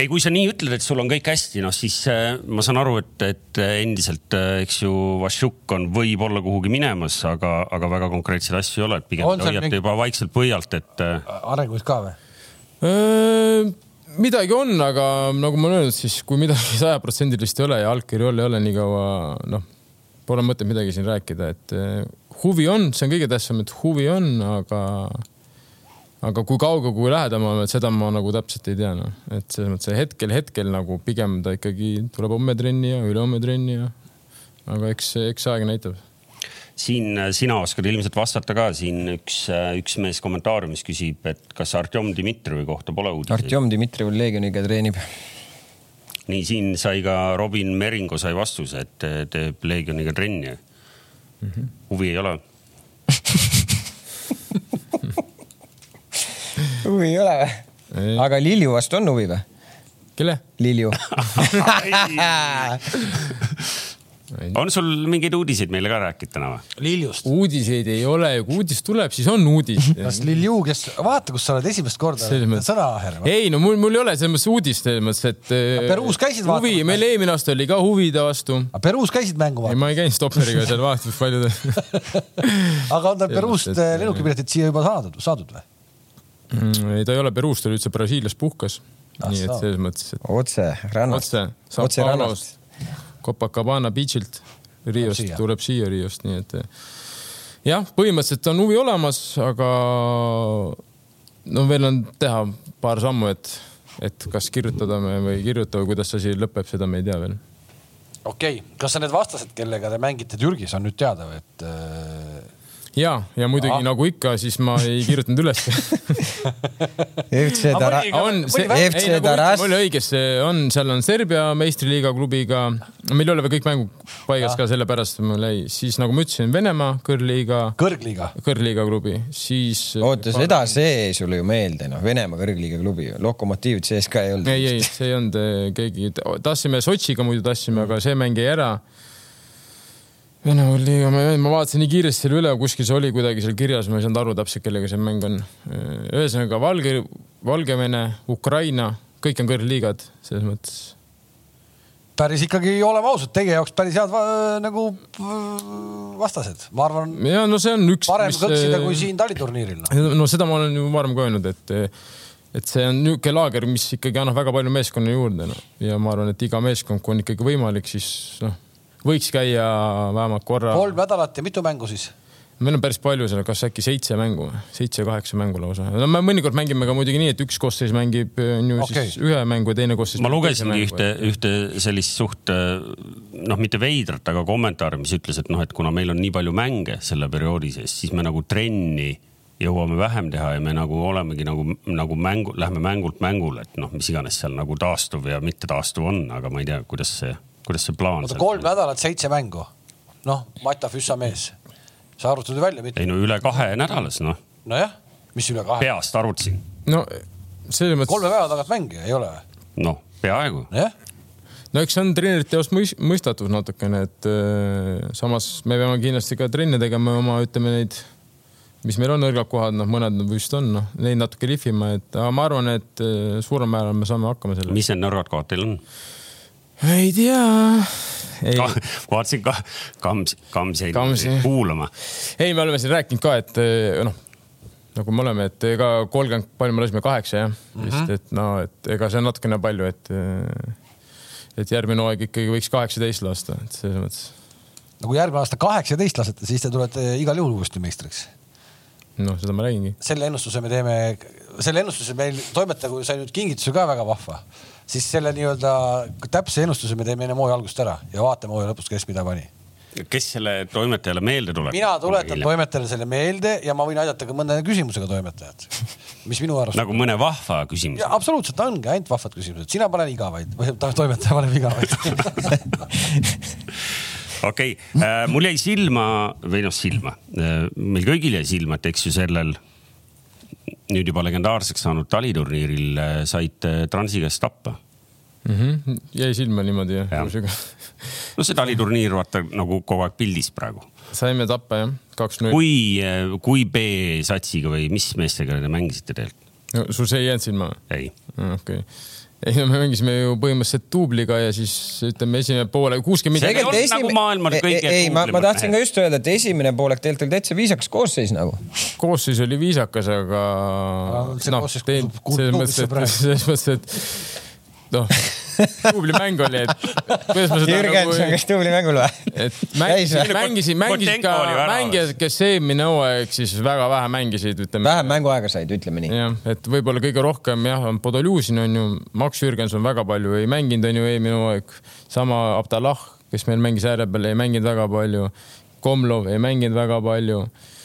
D: ei , kui sa nii ütled , et sul on kõik hästi , noh siis äh, ma saan aru , et , et äh, endiselt , eks ju , Vašjuk on võib-olla kuhugi minemas , aga , aga väga konkreetseid asju ei ole , et pigem
A: On
D: te
A: seal
D: hoiate
A: mingi-
D: mingi... juba vaikselt põialt , et äh,
A: arenguid ka või ?
C: midagi on , aga nagu ma olen öelnud , siis kui midagi sajaprotsendilist ei ole ja allkirju all ei ole nii kaua , noh , pole mõtet midagi siin rääkida , et eh, huvi on , see on kõige tähtsam , et huvi on , aga , aga kui kaugel , kui lähedal me oleme , seda ma nagu täpselt ei tea , noh . et selles mõttes et hetkel , hetkel nagu pigem ta ikkagi tuleb homme trenni ja ülehomme trenni ja , aga eks , eks aeg näitab
D: siin äh, sina oskad ilmselt vastata ka , siin üks , üks mees kommentaariumis küsib , et kas Artjom Dmitrijevi kohta pole uudiseid .
B: Artjom Dmitrijev Leegioniga treenib .
D: nii siin sai ka Robin Meringo sai vastuse , et äh, teeb Leegioniga trenni mm .
A: Mhm.
D: -hmm. huvi ei ole .
B: huvi ei ole või
C: Ei. ?
B: aga Lilju vastu on huvi või ?
C: kelle ?
B: Lilju
D: on sul mingeid uudiseid meile ka rääkida täna või ?
A: Liljust .
C: uudiseid ei ole ja kui uudis tuleb , siis on uudis .
A: kas Lilju , kes , vaata , kus sa oled esimest korda
C: Selles mõttes-
A: sõnaaher .
C: ei no mul , mul ei ole selles mõttes uudist selles mõttes , et .
A: Peruus käisid
C: huvi ,
A: vaatamas?
C: meil eelmine aasta oli ka huvi ta vastu .
A: aga Peruus käisid mängu
C: ei ,
A: vaatamas ,
C: ma ei käinud Stopperiga seal vaatamas , palju ta .
A: aga on tal Peruust
C: Selles mõttes,
A: eh,
C: et-
A: lennukipiletid siia juba saadud , saadud või ?
C: ei , ta ei ole Peruus , ta oli üldse Brasiilias puhkas .
A: Ah
C: nii et
A: soo.
C: selles mõttes , et
B: otse rannast .
C: otse , Sao
B: Otse
C: Paulost , Copacabana beach'ilt , Riost
A: Siia.
C: tuleb siia Riost , nii et äh, jah , põhimõtteliselt on huvi olemas , aga no veel on teha paar sammu , et , et kas kirjutada me või ei kirjuta või kuidas see asi lõpeb , seda me ei tea veel
A: okei okay. , kas sa need vastased , kellega te mängite Türgis , on nüüd teada või , et äh,
C: ja , ja muidugi
A: Ah.
C: Aha. nagu ikka , siis ma ei kirjutanud üles .
B: FC Tara-
A: Aga
C: on see ,
A: või-
C: ei
B: FC
C: nagu ma
B: Taras-
C: ütlesin, mul oli õige , see on , seal on Serbia meistriliiga klubiga , meil ei ole veel kõik mängud paigas ka sellepärast mul jäi , siis nagu ma ütlesin , Venemaa kõrgliiga ,
A: kõrgliiga ?
C: kõrgliiga klubi , siis .
B: oota , seda , see jäi sulle ju meelde , noh , Venemaa kõrgliiga klubi , Lokomotiivid sees ka ei olnud .
C: ei , ei , see ei olnud eh, keegi , tahtsime Sotšiga muidu tahtsime , aga see mäng jäi ära . Venemaa liiga , ma ei- ma vaatasin nii kiiresti selle üle , kuskil see oli kuidagi seal kirjas , ma ei saanud aru täpselt , kellega see mäng on . ühesõnaga Valge , Valgevene , Ukraina , kõik on kõrgliigad selles mõttes .
A: päris ikkagi , oleme ausad , teie jaoks päris head va- nagu äh, vastased , ma arvan ,
C: ja no see on üks . äh,
A: parem
C: eh,
A: kõksida kui siin taliturniiril . noh.
C: no seda ma olen ju varem ka öelnud , et , et see on niisugune laager , mis ikkagi annab väga palju meeskonna juurde no. ja ma arvan , et iga meeskond , kui on ikkagi võimalik , siis noh , võiks käia vähemalt korra .
A: kolm nädalat ja mitu mängu siis ?
C: meil on päris palju seal , kas äkki seitse mängu , seitse-kaheksa mängu lausa . no me mõnikord mängime ka muidugi nii , et üks koosseis mängib on ju okay.
A: Okei.
C: siis ühe mängu ja teine koosseis .
D: ma lugesingi ühte , ühte sellist suht noh , mitte veidrat , aga kommentaari , mis ütles , et noh , et kuna meil on nii palju mänge selle perioodi sees , siis me nagu trenni jõuame vähem teha ja me nagu olemegi nagu , nagu mängu , lähme mängult mängule , et noh , mis iganes seal nagu taastuv ja mitte taastuv on , aga ma ei tea , kuidas see , kuidas see plaan
A: oota ,
D: seal-
A: kolm nädalat , seitse mängu . noh , Mata Füssa mees , sa arvutad ju välja , mitte ?
D: ei no üle kahe nädalas , noh ,
A: nojah , mis üle kahe ?
D: peast arvutasin ,
C: no selles
A: kolme
C: mõttes ,
A: päeva tagant mängija ei ole või ?
D: noh , peaaegu .
A: jah ,
C: no eks see on treenerite jaoks mõis- mõistatus natukene , et öö, samas me peame kindlasti ka trenne tegema oma , ütleme neid , mis meil on nõrgad kohad , noh , mõned vist on , noh , neid natuke lihvima , et aga ma arvan , et öö, suurel määral me saame hakkama sellega .
D: mis need nõrgad kohad teil on ?
C: ei tea . ei ,
D: Ah. vaatasin ka Kams , Kamsi
C: Kamsi.
D: kuulama
C: ei , me oleme siin rääkinud ka , et eh, noh , nagu me oleme , et ega kolmkümmend , palju me lasime , kaheksa jah mm -hmm. , vist , et no , et ega see on natukene palju , et eh, et järgmine hooaeg ikkagi võiks kaheksateist lasta , et selles mõttes
A: no kui järgmine aasta kaheksateist lasete , siis te tulete igal juhul uuesti meistriks .
C: noh , seda ma räägingi .
A: selle ennustuse me teeme , selle ennustuse meil toimetaja , kui sai nüüd kingituse ka väga vahva , siis selle nii-öelda täpse ennustuse me teeme enne hooaja algust ära ja vaatame hooaja lõpus , kes mida pani .
D: kes selle toimetajale meelde tuleb ?
A: mina tuletan . toimetajale selle meelde ja ma võin aidata ka mõne küsimusega toimetajat , mis minu arust .
D: nagu mõne vahva küsimuse .
A: ja absoluutselt ongi ainult vahvad küsimused , sina paned igavaid või ta- toimetaja paneb igavaid .
D: okei okay. , mul jäi silma või noh , silma , meil kõigil jäi silma , et eks ju sellel nüüd juba legendaarseks saanud taliturniiril äh, said äh, Transi käest tappa .
C: Mhm. jäi silma niimoodi
D: Jah.
C: jah .
D: no see taliturniir vaata nagu kogu aeg pildis praegu .
C: saime tappa jah , kaks-null .
D: kui , kui B-satsiga või mis meestega te mängisite tegelikult ?
C: sul see ei jäänud silma või ?
D: ei ,
C: okei okay. . ei no me mängisime ju põhimõtteliselt duubliga ja siis ütleme esimene poole kuuskümmend
D: See-
C: minutit .
D: olnud nagu maailma
B: ei,
D: kõige
B: ei , ma , ma
D: kuulimad
B: tahtsin ka
D: mehed.
B: just öelda , et esimene poolek tegelikult oli täitsa viisakas koosseis nagu .
C: koosseis oli viisakas , aga
A: Aga see
C: noh ,
A: koosseis
C: teil
A: kuulub- kuulub
C: selles
A: duublisse
C: mõttes , et
A: praegu.
C: selles mõttes , et noh , tubli mäng oli , et kuidas ma seda nagu
B: Jürgen , see on kas tubli mängul või ?
C: et
B: Käis
C: mängisid
B: või? ,
C: mängisid , mängisid
D: Kotenko
C: ka
D: oli väravas.
C: mängijad , kes eelmine hooaeg siis väga vähe mängisid , ütleme .
B: vähem mänguaega said , ütleme nii .
C: jah , et võib-olla kõige rohkem jah , on Podoljusin on ju , Max Jürgenson väga palju ei mänginud , on ju eelmine hooaeg . sama Abdallah , kes meil mängis ääre peal , ei mänginud väga palju . Komlov ei mänginud väga palju .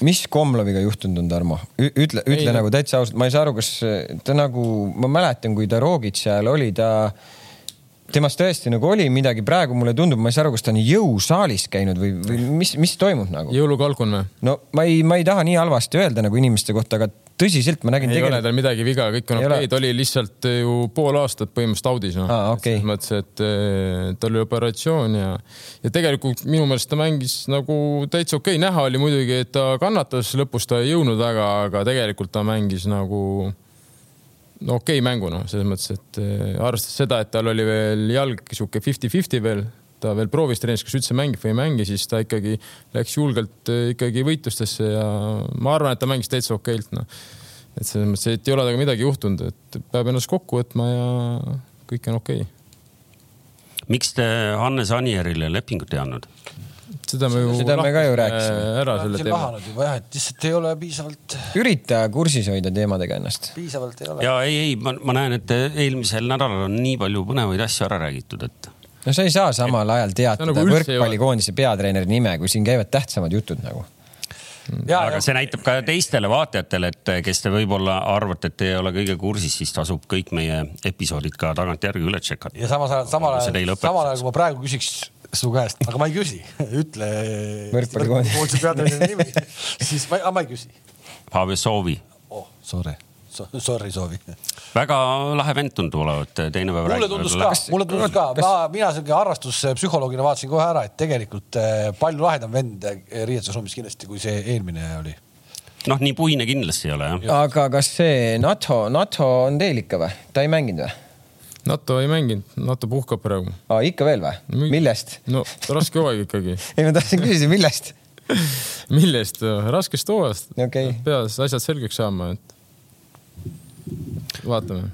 B: mis Komloviga juhtunud on , Tarmo ? ütle , ütle
C: Ei,
B: ei, nagu täitsa ausalt , ma ei saa aru , kas ta nagu , ma mäletan , kui ta Rogic seal oli , ta , temast tõesti nagu oli midagi , praegu mulle tundub , ma ei saa aru , kas ta on jõusaalis käinud või , või mis , mis toimub nagu ?
C: jõulukalkun või ?
B: no ma ei , ma ei taha nii halvasti öelda nagu inimeste kohta , aga tõsiselt ma nägin
C: ei ole
B: tegelikult ,
C: tal midagi viga , kõik on
B: Ei
C: okei
B: ole. ,
C: ta oli lihtsalt äh, ju pool aastat põhimõtteliselt audis noh
B: Aa, okei.
C: selles mõttes , et eh, tal oli operatsioon ja , ja tegelikult minu meelest ta mängis nagu täitsa okei , näha oli muidugi , et ta kannatas , lõpus ta ei jõudnud väga , aga tegelikult ta mängis nagu no okei mängu noh , selles mõttes , et eh, arvestades seda , et tal oli veel jalg sihuke fifty-fifty veel , ta veel proovis trennis , kas üldse mängib või ei mängi , siis ta ikkagi läks julgelt eh, ikkagi võitlustesse ja ma arvan , et ta mängis täitsa okeilt noh . et selles mõttes , et ei ole temaga midagi juhtunud , et peab ennast kokku võtma ja kõik on okei okay. .
D: miks te Hannes Anierile lepingut ei andnud ?
C: seda me ju .
B: Seda me ka ju rääkisime.
C: ära selle
A: siin
C: teema .
A: lahanud juba jah , et lihtsalt ei ole piisavalt ,
B: ürita kursis hoida teemadega ennast .
A: piisavalt ei ole .
D: ja ei , ei , ma , ma näen , et äh, eelmisel nädalal on nii palju põnevaid asju ära räägitud , et
B: no sa ei saa samal ajal teatada
C: See on
B: nagu
C: nagu üldse ei ole.
B: võrkpallikoondise peatreeneri nime , kui siin käivad tähtsamad jutud nagu .
D: aga see näitab ka teistele vaatajatele , et äh, kes te võib-olla arvate , et te ei ole kõige kursis , siis tasub kõik meie episoodid ka tagantjärgi üle tšekata .
A: ja samas ajal , samal
D: See teile
A: ajal ,
D: õpetuseks.
A: samal ajal , kui ma praegu küsiks su käest , aga ma ei küsi , ütle .
B: Võrkpallikooli.
A: peatreeneri nimi , siis ma , ma ei küsi .
D: Pavel Soovi ,
A: oh , sorry so, , sorry soovi .
D: väga lahe vend tundub olevat , teine päev
A: mulle
D: räägib
A: tundus
D: võib-olla
A: ka , mulle tundus ka , ma , mina siuke harrastuspsühholoogina vaatasin kohe ära , et tegelikult eh, palju lahedam vend eh, riietusruumis kindlasti , kui see eelmine oli .
D: noh , nii puine kindlasti ei ole jah .
B: aga kas see NATO , NATO on teil ikka või ? ta ei mänginud või ?
C: NATO ei mänginud , NATO puhkab praegu .
B: aa , ikka veel või ? millest ?
C: no raske hooaeg ikkagi .
B: ei , ma tahtsin küsida , millest ?
C: millest ? raskest hooajast
B: Okei.
C: peas asjad selgeks saama , et vaatame .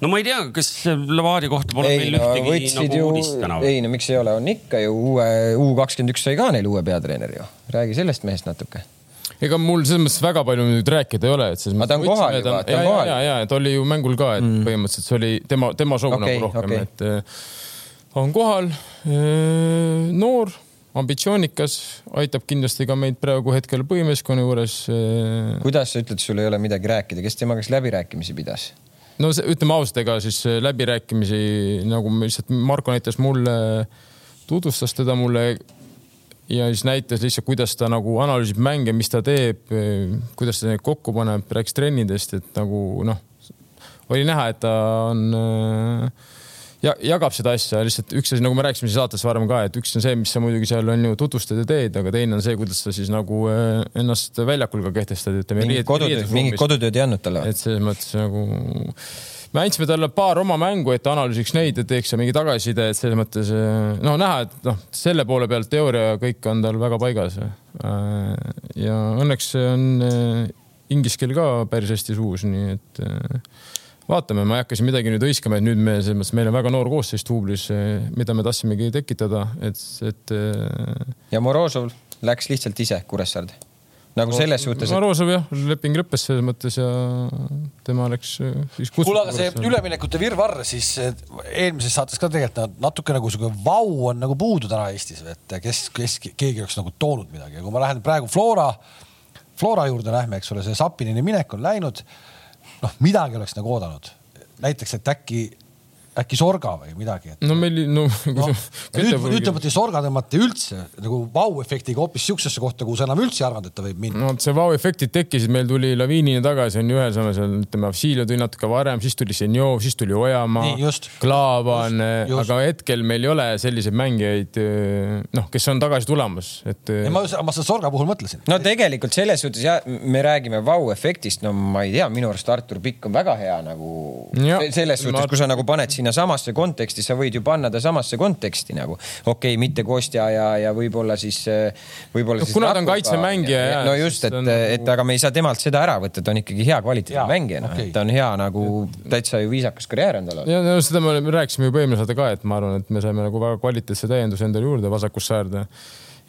D: no ma ei tea , kas Levadia kohta pole
B: ei
D: meil
B: no
D: ühtegi
B: võtsid
D: nagu
B: ju
D: uudist täna , või ?
B: ei no miks ei ole , on ikka ju uue , U kakskümmend üks sai ka neil uue peatreeneri ju . räägi sellest mehest natuke .
C: ega mul selles mõttes väga palju nüüd rääkida ei ole , et selles
B: Aga ta
C: mõttes .
B: on kohal juba, ta on
C: ja , ja ,
B: kohal.
C: ja , ja , et oli ju mängul ka , et mm. põhimõtteliselt see oli tema , tema soov okay,
B: Okei,
C: nagu rohkem
B: okei.
C: okay. , et eh, on kohal , noor , ambitsioonikas , aitab kindlasti ka meid praegu hetkel põhimeeskonna juures . eh,
B: kuidas sa ütled , sul ei ole midagi rääkida , kes temaga siis läbirääkimisi pidas ?
C: no see, ütleme ausalt , ega siis eh, läbirääkimisi nagu me lihtsalt Marko näitas mulle , tutvustas teda mulle ja siis näitas lihtsalt , kuidas ta nagu analüüsib mänge , mis ta teeb , kuidas ta neid kokku paneb , rääkis trennidest , et nagu noh , oli näha , et ta on äh, ja jagab seda asja lihtsalt üks asi , nagu me rääkisime siin saates varem ka , et üks on see , mis sa muidugi seal on ju tutvustad ja teed , aga teine on see , kuidas sa siis nagu äh, ennast väljakul ka kehtestad , ütleme .
B: mingit kodutööd , mingit kodutööd ei andnud talle või ?
C: et selles mõttes nagu me andsime talle paar oma mängu , et ta analüüsiks neid ja teeks seal mingi tagasiside , et selles mõttes eh, noh , näha , et noh , selle poole pealt teooria ja kõik on tal väga paigas . ja õnneks on eh, inglise keel ka päris hästi suus , nii et eh, vaatame , ma ei hakka siin midagi nüüd hõiskama , et nüüd me selles mõttes , meil on väga noor koosseis duublis , mida me tahtsimegi tekitada , et , et eh,
B: ja Morozov läks lihtsalt ise Kuressaarde . nagu selles suhtes , et
C: Marozov jah , leping lõppes selles mõttes ja äh, tema läks siis
A: kuule , aga see . üleminekute virvarr siis eh, eelmises saates ka tegelikult nad natuke nagu sihuke vau on nagu puudu täna Eestis , et kes , kes , keegi oleks nagu toonud midagi ja kui ma lähen praegu Flora , Flora juurde lähme , eks ole , see Sapinini minek on läinud . noh , midagi oleks nagu oodanud , näiteks , et äkki , äkki Sorga või midagi , et noh,
C: no meil , no,
A: no,
C: no
A: nüüd , nüüd tõmmati sorga tõmmati üldse nagu vau-efektiga hoopis siuksesse kohta , kuhu sa enam üldse ei arvanud , et ta võib minna .
C: no vot, see vau-efektid tekkisid , meil tuli laviinini tagasi , on ju , ühesõnaga seal ütleme , Avsilio tuli natuke varem , siis tuli Senjov , siis tuli Ojamaa
A: Nii, just. ,
C: Klaavan ,
A: Just, just.
C: aga hetkel meil ei ole selliseid mängijaid , noh , kes on tagasi tulemas , et . eh,
A: ei , ma , ma seda sorga puhul mõtlesin .
B: no tegelikult selles suhtes jah , me räägime vau-efektist , no ma ei tea , minu arust Artur Pikk on väga hea nagu
C: Jah.
B: Se- selles suhtes ma... ,
C: Ma-
B: kui sa nagu paned sinna samasse konteksti , sa võid ju panna ta samasse konteksti nagu . okei okay, , mitte Kostja ja , ja võib-olla siis , võib-olla
C: No
B: siis .
C: kuna ta on kaitsemängija, jah,
B: no
C: siis
B: just ,
C: ta
B: et
C: on , nagu-
B: et aga me ei saa temalt seda ära võtta , ta on ikkagi hea
A: Jaa,
B: kvaliteetne mängija , noh
A: okei.
B: okay. , ta on hea nagu täitsa ju viisakas karjäär endal olnud .
C: ja no seda me oleme- rääkisime juba eelmine saade ka , et ma arvan , et me saime nagu väga kvaliteetse täienduse endale juurde vasakus säärde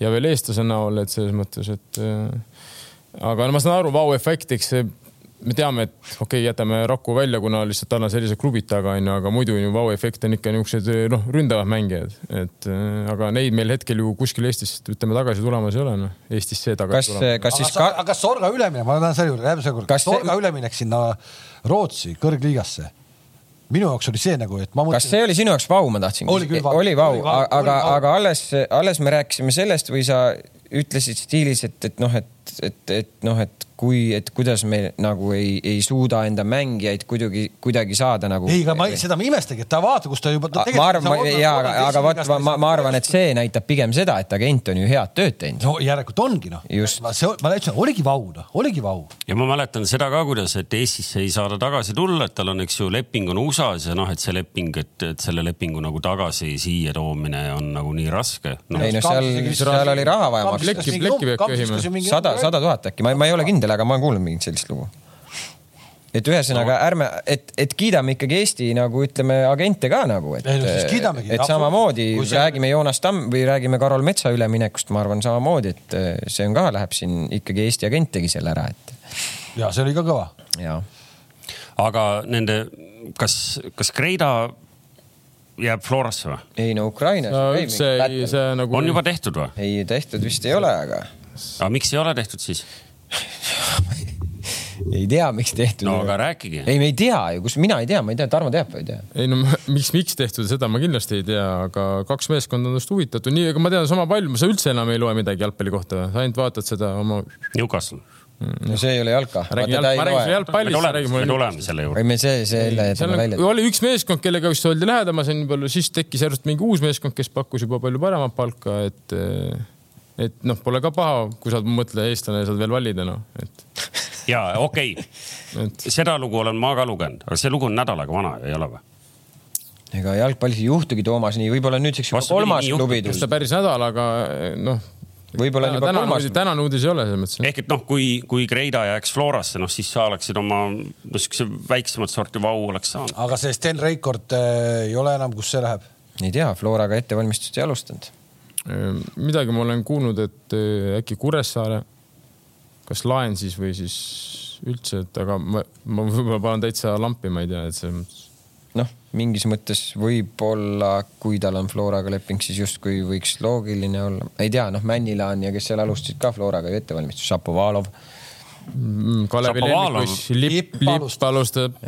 C: ja veel eestlase näol , et selles mõttes , et äh, aga no ma saan aru , vau-efekt , eks see , me teame , et okei okay, , jätame Raku välja , kuna lihtsalt tal on sellised klubid taga onju , aga muidu ju vau-efekt on ikka niisugused noh , ründavad mängijad , et äh, aga neid meil hetkel ju kuskil Eestis ütleme tagasi tulemas ei ole noh , Eestis see
B: kas ,
C: tagasi tulemas .
A: aga
B: kas siis
A: sa
B: ka... ,
A: aga kas sorga üleminek , ma tahan selle juurde , lähme selle juurde ,
B: Kas
A: kas
B: see-
A: sorga üleminek sinna Rootsi kõrgliigasse ? minu jaoks oli see nagu , et ma
B: kas
A: mõtlesin ,
B: see oli sinu jaoks vau , ma tahtsin .
A: Oli küll vau.
B: oli vau
A: Oli , vau, oli
B: aga
A: vau. ,
B: aga alles , alles me rääkisime sellest või sa ütlesid stiilis , et , et noh , et , et , et noh , et kui , et kuidas me nagu ei , ei suuda enda mängijaid kuidagi , kuidagi saada nagu .
A: ei , aga ma seda ma imestagi , et ta vaata , kus ta juba .
B: ma arvan , ja , aga , aga vot ma , ma , ma arvan , et see näitab pigem seda , et agent on ju head tööd teinud .
A: no järelikult ongi noh ,
B: Just.
A: ma see , ma täitsa oligi vau noh , oligi vau .
D: ja ma mäletan seda ka , kuidas , et Eestisse ei saa ta tagasi tulla , et tal on , eks ju , leping on USA-s ja noh , et see leping , et , et selle lepingu nagu tagasi siia toomine on nagu nii raske no, .
B: ei no seal , seal oli raha vaja maksta .
C: Plekki- plekki peab köhima.
B: sada , sada tuhat äkki , ma , ma ei ole kindel , aga ma olen kuulnud mingit sellist lugu . et ühesõnaga ärme , et , et kiidame ikkagi Eesti nagu ütleme agente ka nagu , et .
A: Ei no siis kiidamegi,
B: et
A: absoluutselt.
B: samamoodi
A: Kui see-
B: see... räägime Joonas Tamm või räägime Karol Metsa üleminekust , ma arvan samamoodi , et eh, see on ka , läheb siin ikkagi Eesti agent tegi selle ära , et
A: ja see oli ka kõva .
B: ja .
D: aga nende , kas , kas Kreida jääb Florasse või ?
B: ei no Ukrainas
C: no üldse ei , see nagu .
D: on juba tehtud või ?
B: ei tehtud vist ei ole , aga
D: aga miks ei ole tehtud siis ?
B: ei tea , miks tehtud
D: no aga rääkige .
B: ei , me ei tea ju , kus mina ei tea , ma ei tea , Tarmo teab või ei tea ?
C: ei no ma- miks , miks tehtud , seda ma kindlasti ei tea , aga kaks meeskonda on tast huvitatud , nii , aga ma tean sama palju , sa üldse enam ei loe midagi jalgpalli kohta või ? sa ainult vaatad seda oma .
D: Newcastle .
A: Mm.
B: no see ei ole jalka .
C: räägin jalg... , ma räägin sulle
D: me
C: jalgpallist , räägi
D: tuleme , me
C: mulle .
D: tuleme selle juurde .
B: või me see , selle
C: seal
B: jätame välja
C: on, . oli üks meeskond , kellega vist oldi lähedamas on ju palju , siis tekkis järsult mingi uus meeskond , kes pakkus juba palju paremat palka , et , et noh , pole ka paha , kui sa oled mõtle eestlane ja saad veel valida noh , et ,
D: ja okei
C: et
D: okay. , seda lugu olen ma ka lugenud , aga see lugu on nädal aega vana , ei ole või ?
B: ega jalgpallis ei juhtugi , Toomas , nii võib-olla nüüdseks juba
D: Vastupidi,
B: kolmas
D: nii
B: klubi
D: juhtub.
C: eks
B: tulnud
C: ta . päris nädal , aga noh .
B: Võib-olla on juba
C: tänane
B: kolmas.
C: uudis , tänane uudis ei ole selles mõttes .
D: ehk et noh , kui , kui Kreida jääks Florasse , noh siis sa oleksid oma no, siukse väiksemat sorti vau oleks saanud .
A: aga see Sten Reikord äh, ei ole enam , kus see läheb ?
B: ei tea , Floraga ettevalmistust ei alustanud .
C: Äh, midagi ma olen kuulnud , et äh, äkki Kuressaare , kas laen siis või siis üldse , et aga ma , ma võib-olla panen täitsa lampi , ma ei tea , et see
B: noh , mingis mõttes võib-olla , kui tal on Floraga leping , siis justkui võiks loogiline olla . ei tea , noh , Männilaan ja kes seal alustasid ka Floraga ju ettevalmistust , Šapovalov .
C: mm, Kalevi
D: Šapovalov.
C: lemmikus lipp ,
A: Lipp
C: lipp
A: alustab.
C: alustab .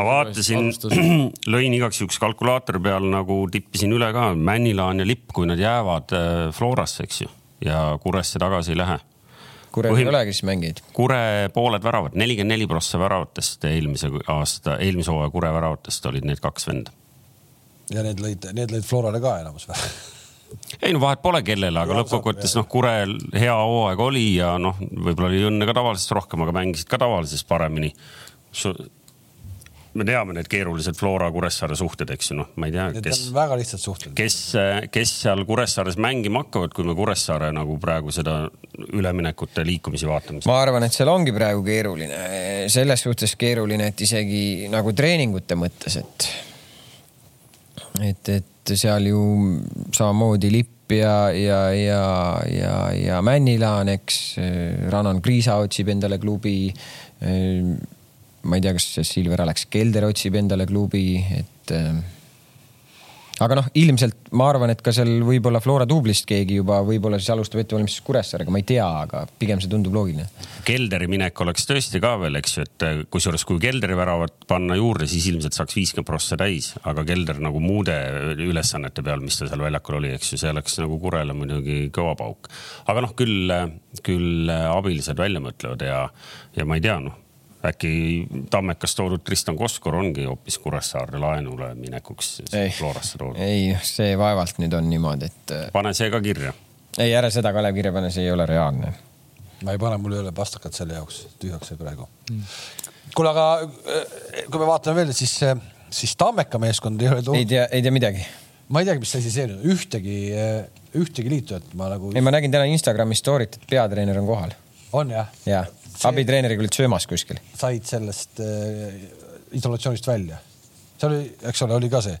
D: ma vaatasin , lõin igaks juhuks kalkulaatori peal nagu tippisin üle ka , Männilaan ja Lipp , kui nad jäävad äh, Florasse , eks ju , ja Kuresse tagasi ei lähe .
B: Kurel
D: Põhim-
B: ei olegi siis mängijaid .
D: Kure pooled väravad , nelikümmend neli prossa väravatest eelmise aasta , eelmise hooaja Kure väravatest olid need kaks venda .
A: ja need lõid , need lõid Florale ka enamus või ?
D: ei no vahet pole , kellele , aga lõppkokkuvõttes noh , Kurel hea hooaeg oli ja noh , võib-olla oli õnne ka tavalisest rohkem , aga mängisid ka tavalisest paremini . me teame need keerulised Flora Kuressaare suhted , eks ju , noh , ma ei tea ,
A: Need
D: kes
A: on , väga lihtsad suhted .
D: kes , kes seal Kuressaares mängima hakkavad , kui me Kuressaare nagu praegu seda üleminekute liikumisi vaatame .
B: ma arvan , et seal ongi praegu keeruline , selles suhtes keeruline , et isegi nagu treeningute mõttes , et et , et seal ju samamoodi lipp Popp ja , ja , ja , ja , ja Männilaan , eks . Ranan Kriisa otsib endale klubi . ma ei tea , kas Silver Alex Kelder otsib endale klubi , et . aga noh , ilmselt ma arvan , et ka seal võib-olla Flora Dublist keegi juba võib-olla siis alustab ettevalmistust Kuressaarega , ma ei tea , aga pigem see tundub loogiline .
D: Kelderi minek oleks tõesti ka veel , eks ju , et äh, kusjuures kui Kelderi väravat panna juurde , siis ilmselt saaks viiskümmend prossa täis , aga Kelder nagu muude ülesannete peal , mis ta seal väljakul oli , eks ju , see oleks nagu Kurele muidugi kõva pauk . aga noh , küll , küll äh, abilised välja mõtlevad ja , ja ma ei tea , noh äkki Tammekas toodud Tristan Koskor ongi hoopis Kuressaare laenule minekuks
B: Ei.
D: Florasse toodud .
B: ei , see vaevalt nüüd on niimoodi , et äh,
D: pane see ka kirja .
B: ei , ära seda Kalev kirja pane , see ei ole reaalne .
A: ma ei pane , mul ei ole pastakat selle jaoks , tühjaks jäi praegu mm. . kuule , aga äh, kui me vaatame veel , siis , siis Tammeka meeskond ei ole
B: ei
A: toonud ,
B: tea , ei tea midagi .
A: ma ei teagi , mis asi see on , ühtegi , ühtegi liitujat ma nagu
B: ei , ma nägin täna Instagrami story't , et peatreener on kohal
A: on jah ,
B: ja abitreeneriga olid söömas kuskil .
A: said sellest äh, isolatsioonist välja . see oli , eks ole , oli ka see .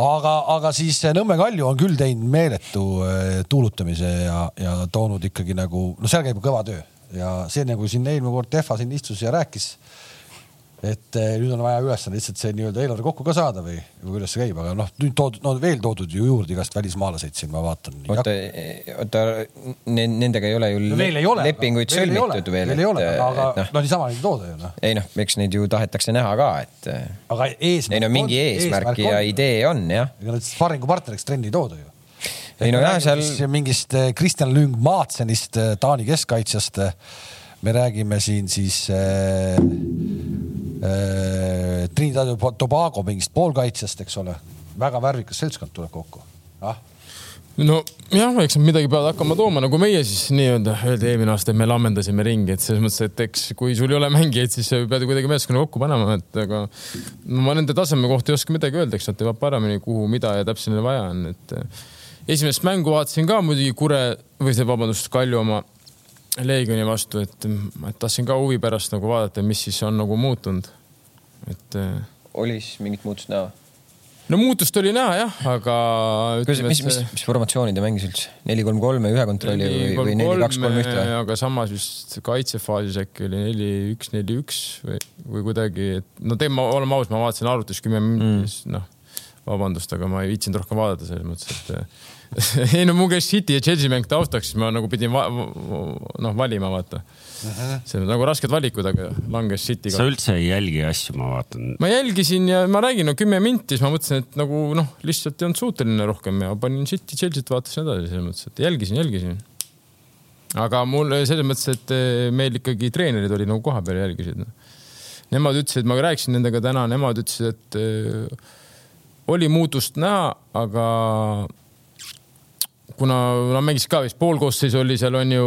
A: aga , aga siis Nõmme Kalju on küll teinud meeletu äh, tuulutamise ja , ja toonud ikkagi nagu , no seal käib kõva töö ja see nagu siin eelmine kord Tehva siin istus ja rääkis , et äh, nüüd on vaja ülesanne lihtsalt see nii-öelda eelarve kokku ka saada või , või kuidas see käib , aga noh , nüüd toodud , no veel toodud ju juurde igast välismaalaseid siin ma vaatan .
B: oota , oota , nendega ei ole ju
A: No veel ei ole .
B: lepinguid sõlmitud veel .
A: veel ei ole , aga
B: noh ,
A: no niisama neid ei tooda ju noh .
B: ei noh , eks neid ju tahetakse näha ka , et eh,
A: aga eesmärk .
B: ei no mingi eesmärk ja . idee on jah .
A: ega nad sparringupartneriks trenni ei tooda ju .
B: Ei no jah, seal-
A: mingist eh, Kristjan Lüng Maatsenist , Taani keskkaitsjast . me räägime siin siis äh, äh, Trinidad ja Tobago mingist poolkaitsjast , eks ole . väga värvikas seltskond tuleb kokku . ah ,
C: nojah , eks nad midagi peavad hakkama tooma , nagu meie siis nii-öelda öeldi eelmine aasta , et me lammendasime ringi , et selles mõttes , et eks kui sul ei ole mängijaid , siis sa ju pead ju kuidagi meeskonna kokku panema , et aga no ma nende taseme kohta ei oska midagi öelda , eks nad teavad paremini , kuhu , mida ja täpselt neil vaja on , et eh, esimest mängu vaatasin ka muidugi Kure või see , vabandust , Kalju oma Leegioni vastu , et ma tahtsin ka huvi pärast nagu vaadata , mis siis on nagu muutunud . et eh,
B: oli siis mingit muutust näha ?
C: no muutust oli näha jah , aga .
B: mis , mis , mis ,
A: äh,
B: mis formatsiooni ta mängis üldse ? neli , kolm , kolme , ühe kontrolli või , või neli , kaks , kolm , ühte või ?
C: aga samas vist kaitsefaasis äkki oli neli , üks , neli , üks või , või kuidagi , et no teeme , oleme ausad , ma vaatasin arvutis kümme minutit mm. , noh , vabandust , aga ma ei viitsinud rohkem vaadata selles mõttes , et eh, ei no mul käis City ja Chelsea mäng taustaks , siis ma nagu pidin va noh valima vaata . see on nagu rasked valikud , aga langes City
D: sa üldse ei jälgi asju , ma vaatan .
C: ma jälgisin ja ma räägin , no kümme minti , siis ma mõtlesin , et nagu noh , lihtsalt ei olnud suuteline rohkem ja panin City , Chelsea't vaatasin edasi selles mõttes , et jälgisin , jälgisin . aga mul selles mõttes , et eh, meil ikkagi treenerid olid nagu kohapeal ja jälgisid no. . Nemad ütlesid , ma rääkisin nendega täna , nemad ütlesid , et eh, oli muutust näha , aga kuna nad mängisid ka vist pool koosseisu oli seal on ju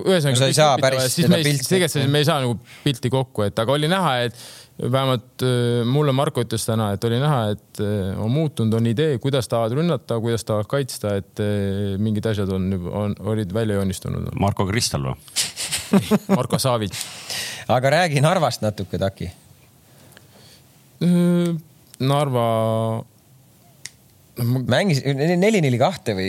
B: No
C: ühesõnaga
B: sa ei saa päris
C: siis
B: seda
C: me
B: pilti-
C: tegelikult selles me ei saa nagu pilti kokku , et aga oli näha , et vähemalt äh, mulle Marko ütles täna , et oli näha , et äh, on muutunud , on idee , kuidas tahavad rünnata , kuidas tahavad kaitsta , et äh, mingid asjad on , on , olid välja joonistunud .
D: Marko Kristal või ?
C: Marko Saavits .
B: aga räägi Narvast natuke , Taki .
C: Narva ,
B: mängis neli , neli , kahte või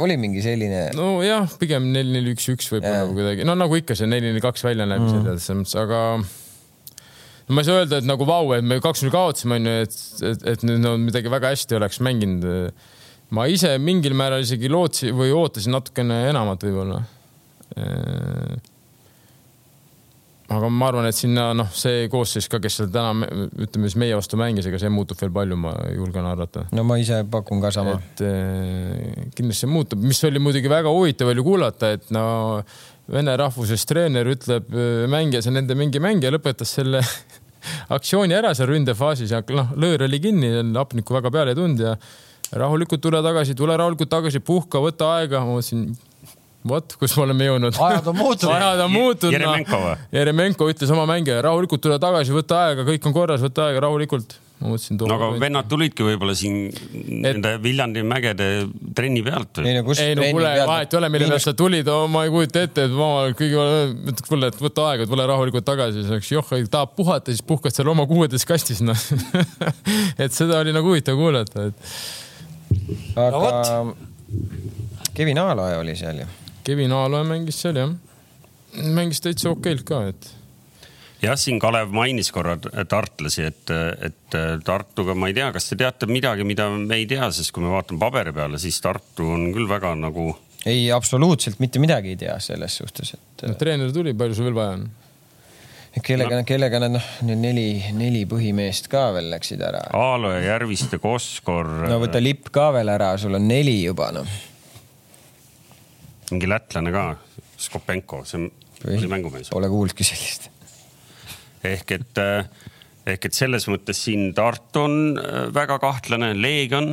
B: oli mingi selline ?
C: nojah , pigem neli , neli , üks , üks võib-olla
B: Jaa.
C: või kuidagi , no nagu ikka see neli , neli , kaks välja näeb mm. selles mõttes , aga no ma ei saa öelda , et nagu vau , et me kaks-null kaotasime , onju , et , et , et nüüd no, midagi väga hästi oleks mänginud . ma ise mingil määral isegi lootsin või ootasin natukene enamat võib-olla . aga ma arvan , et sinna noh , see koosseis ka , kes seal täna ütleme siis meie vastu mängis , ega see muutub veel palju , ma julgen arvata
B: no ma ise pakun ka sama .
C: et eh, kindlasti muutub , mis oli muidugi väga huvitav oli kuulata , et no vene rahvusest treener ütleb eh, mängija , see nende mingi mängija lõpetas selle aktsiooni ära seal ründefaasis ja noh , löör oli kinni , hapnikku väga peale ei tulnud ja rahulikult tule tagasi , tule rahulikult tagasi , puhka , võta aega , ma mõtlesin , vot , kus me oleme jõudnud .
A: Ajad on muutunud.
C: ajad on muutunud .
D: Jeremenko või?
C: Jeremenko ütles oma mängijale , rahulikult tule tagasi , võta aega , kõik on korras , võta aega rahulikult . ma mõtlesin .
D: no aga vennad tulidki võib-olla siin nende Viljandi mägede trenni pealt või ?
B: ei no kus .
C: ei no kuule , vahet ei ole , mille pealt sa tulid , ma ei kujuta ette , et ma kõige , ütleks kuule , et võta aega , tule rahulikult tagasi , siis oleks joh , tahab puhata , siis puhkad seal oma kuueteist kastis , noh . et seda oli nagu huvitav kuulata , et
B: aga
A: No
B: no, Kevin Aaloja oli seal ju .
C: Kevin Aaloja mängis seal jah , mängis täitsa okeilt ka , et
D: jah , siin Kalev mainis korra tartlasi , et , et Tartuga ma ei tea , kas te teate midagi , mida me ei tea , sest kui me vaatame paberi peale , siis Tartu on küll väga nagu
B: ei , absoluutselt mitte midagi ei tea selles suhtes , et
C: no, noh, treener tuli , palju sul veel vaja on ?
B: kellega , kellega nad noh , need neli , neli põhimeest ka veel läksid ära .
D: Aalo ja Järviste , Koskor
B: no
D: no, ,
B: võta lipp ka veel ära , sul on neli juba noh .
D: mingi lätlane ka , Skopenko , see oli mängumees .
B: Pole kuulnudki sellist .
D: ehk et , ehk et selles mõttes siin Tartu on äh, väga kahtlane , Leegion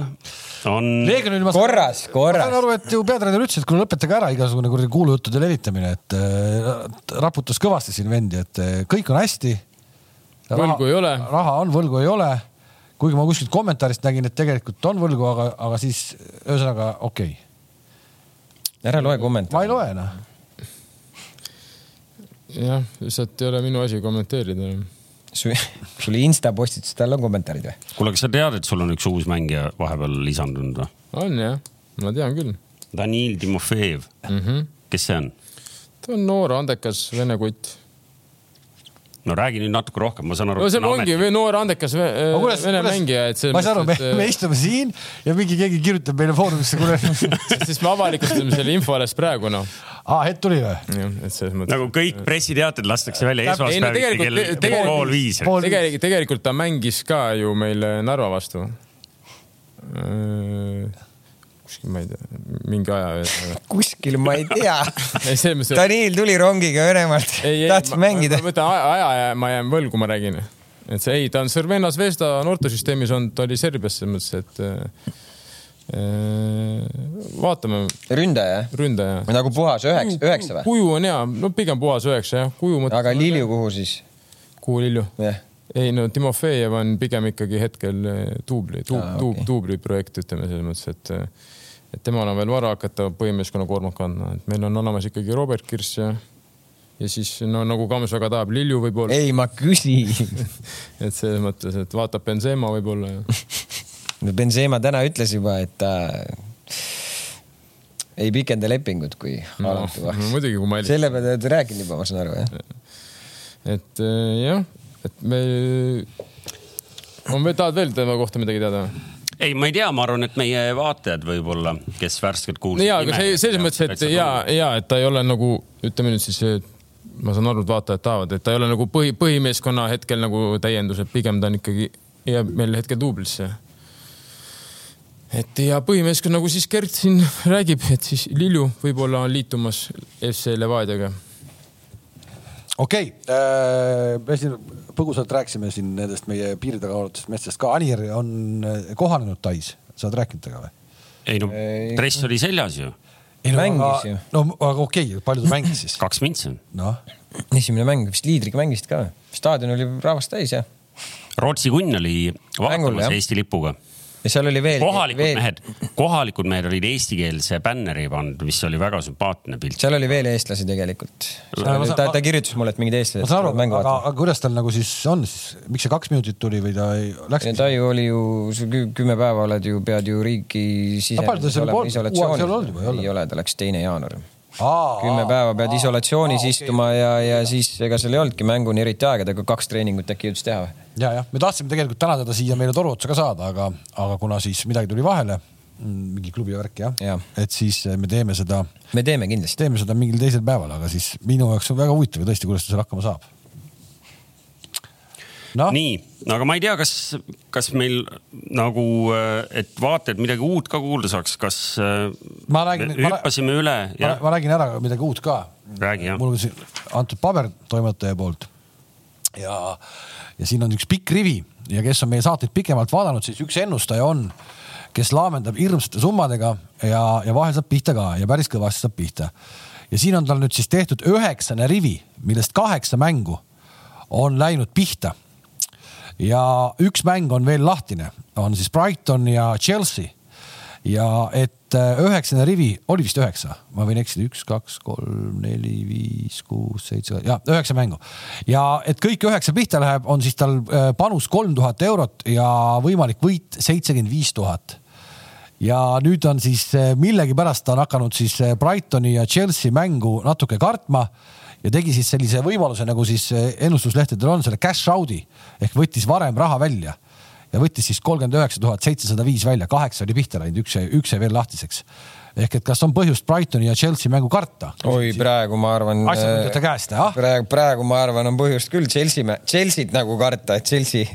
D: on .
A: Leegionil ma
B: korras ,
A: ma saan
B: korras .
A: aru , et ju peatreener ütles , et kuule lõpetage ära igasugune kuradi kuulujuttude levitamine , et äh, raputas kõvasti siin vendi , et äh, kõik on hästi .
C: Võlgu ei ole.
A: raha on , võlgu ei ole . kuigi ma kuskilt kommentaarist nägin , et tegelikult on võlgu , aga , aga siis ühesõnaga okei okay. ,
B: ära loe
A: ma ei
B: kommentaare .
A: loe noh .
C: jah , lihtsalt ei ole minu asi kommenteerida .
B: sul Insta postitus , tal on kommentaarid või ?
D: kuule , kas sa tead , et sul on üks uus mängija vahepeal lisandunud või ?
C: on jah , ma tean küll
D: Danil Timofejev
C: mm . -hmm.
D: kes see on ?
C: ta on noor , andekas vene kutt .
D: no räägi nüüd natuke rohkem , ma saan aru .
C: no see ongi või noor , andekas ve- äh, vene mängija , et äh,
A: ma ei saa aru , me , me
C: et,
A: istume siin ja mingi keegi kirjutab meile foorumisse , kuule ,
C: eh, siis me avalikustame selle info alles praegu noh .
A: aa , hetk tuli või ?
C: jah , et selles mõttes .
D: nagu kõik pressiteated lastakse välja
C: Täpselt. Ei, no
D: esmaspäeviti
C: tegelikult-
D: kell
C: tegelikult-
D: pool viis .
A: Pool-
C: tegelikult , tegelikult ta mängis ka ju meil Narva vastu . kuskil , ma ei tea , mingi aja ühesõnaga .
B: kuskil ma ei tea .
C: ei , selles mõttes .
B: Danil tuli rongiga Venemaalt , tahtis mängida
C: ma . võtan aja , aja ja ma jään võlgu , ma räägin . et see ei , ta on Cervena Zvezda noortesüsteemis olnud , ta oli Serbias selles mõttes , et äh, vaatame ,
B: ründaja ,
C: ründaja .
B: nagu puhas üheksa , üheksa või ?
C: kuju on hea , no pigem puhas üheksa jah , kuju mõttes .
B: aga Lilju kuhu siis ?
C: kuhu Lilju ?
B: jah ,
C: ei no Timofejev on pigem ikkagi hetkel eh, duubli , tuub
B: Aa, ,
C: tuub
B: okei. ,
C: duubli projekt , ütleme selles mõttes , et eh, et temal on veel vara hakata põhimeeskonna koormat kandma , et meil on olemas ikkagi Robert Kirss ja ja siis no nagu Kams väga tahab , Lilju võib-olla .
B: ei ma küsin .
C: et selles mõttes , et vaatab Benzema võib-olla ja
B: no Benzema täna ütles juba , et ta ei pikenda lepingut , kui
C: No,
B: alati vahest
C: noh, no muidugi, kui ma ei-
B: selle peale te olete rääkinud juba , ma saan aru jah ?
C: et äh, jah , et me , on veel , tahad veel tema kohta midagi teada või ?
D: ei , ma ei tea , ma arvan , et meie vaatajad võib-olla , kes värskelt kuulsid .
C: ja , aga see selles mõttes , et ja , ja et ta ei ole nagu ütleme nüüd siis , ma saan aru , et vaatajad tahavad , et ta ei ole nagu põhi , põhimeeskonna hetkel nagu täiendus , et pigem ta on ikkagi jääb meil hetkel duublisse . et ja põhimeeskond nagu siis Gert siin räägib , et siis Lilju võib-olla on liitumas FC Levadiaga .
A: okei okay, , Äh, me siin põgusalt rääkisime siin nendest meie piiri taga olevatest meestest ka , Anier on äh, kohanenud Tais , sa oled rääkinud temaga või ?
D: ei no dress oli seljas ju ,
A: Ei, no,
B: Mängis
A: aga-
B: ju.
A: no aga okei okay, , palju ta mängis siis ?
D: kaks mintsi .
A: noh ,
B: esimene mäng , vist liidriga mängisid ka või ? staadion oli rahvast täis jah ?
D: Rootsi kunn oli
B: Mängul, jah.
D: vaatamas Eesti lipuga .
B: ja seal oli veel ,
D: kohalikud
B: veel ,
D: mehed , kohalikud mehed olid eestikeelse bänneri pannud , mis oli väga sümpaatne pilt .
B: seal oli veel eestlasi tegelikult .
A: Ma saan-
B: ta , ta kirjutas mulle , et mingid eestlased
A: ma saan aru ,
B: tulevad mängu
A: aga ,
B: vaatama .
A: aga kuidas tal nagu siis on siis , miks see kaks minutit tuli või ta ei läks ?
B: ta ju oli ju , sul kü- kümme päeva oled ju , pead ju riigi
A: palju ta
B: sisenemas
A: seal
B: olema
A: polnud? Uueks ei ole olnud
B: isolatsioonis
A: või ei . ole?
B: ei ole , ta läks teine jaanuar . kümme
A: kümme
B: päeva pead isolatsioonis istuma ja , ja siis ega seal ei olnudki mänguni eriti aega , ta ka kaks treeningut äkki jõudis teha või ?
A: ja , jah , me tahtsime tegelikult täna teda siia meile toru otsa ka saada , aga , aga kuna siis midagi tuli vahele , mingi klubi värk
B: Jah.
A: jah , et siis äh, me teeme seda ,
B: me teeme kindlasti .
A: teeme seda mingil teisel päeval , aga siis minu jaoks on väga huvitav tõesti , kuidas ta seal hakkama saab . noh ,
D: nii , aga ma ei tea , kas , kas meil nagu , et vaatajad midagi uut ka kuulda saaks , kas äh,
A: Ma räägin-
D: me
A: ma rää-
D: hüppasime üle
A: ma,
D: ja
A: ma räägin ära midagi uut ka .
D: Räägi, jah.
A: mul on siin antud paber toimetaja poolt ja , ja siin on üks pikk rivi ja kes on meie saateid pikemalt vaadanud , siis üks ennustaja on , kes laamendab hirmsate summadega ja , ja vahel saab pihta ka ja päris kõvasti saab pihta . ja siin on tal nüüd siis tehtud üheksane rivi , millest kaheksa mängu on läinud pihta ja üks mäng on veel lahtine , on siis Brighton ja Chelsea . ja et äh, üheksane rivi , oli vist üheksa , ma võin eksida , üks , kaks , kolm , neli , viis , kuus , seitse , ja üheksa mängu . ja et kõik üheksa pihta läheb , on siis tal äh, panus kolm tuhat eurot ja võimalik võit seitsekümmend viis tuhat ja nüüd on siis eh, millegipärast ta on hakanud siis eh, Brightoni ja Chelsea mängu natuke kartma ja tegi siis sellise võimaluse , nagu siis eh, ennustuslehtedel on selle cash out'i ehk võttis varem raha välja ja võttis siis kolmkümmend üheksa tuhat seitsesada viis välja , kaheksa oli pihta läinud , üks jäi , üks jäi veel lahtiseks . ehk et kas on põhjust Brightoni ja Chelsea mängu karta ?
B: oi , praegu ma arvan .
A: Asjatundjate käest, jah?
B: praegu , praegu ma arvan , on põhjust küll Chelsea , Chelsea't nagu karta , et Chelsea ,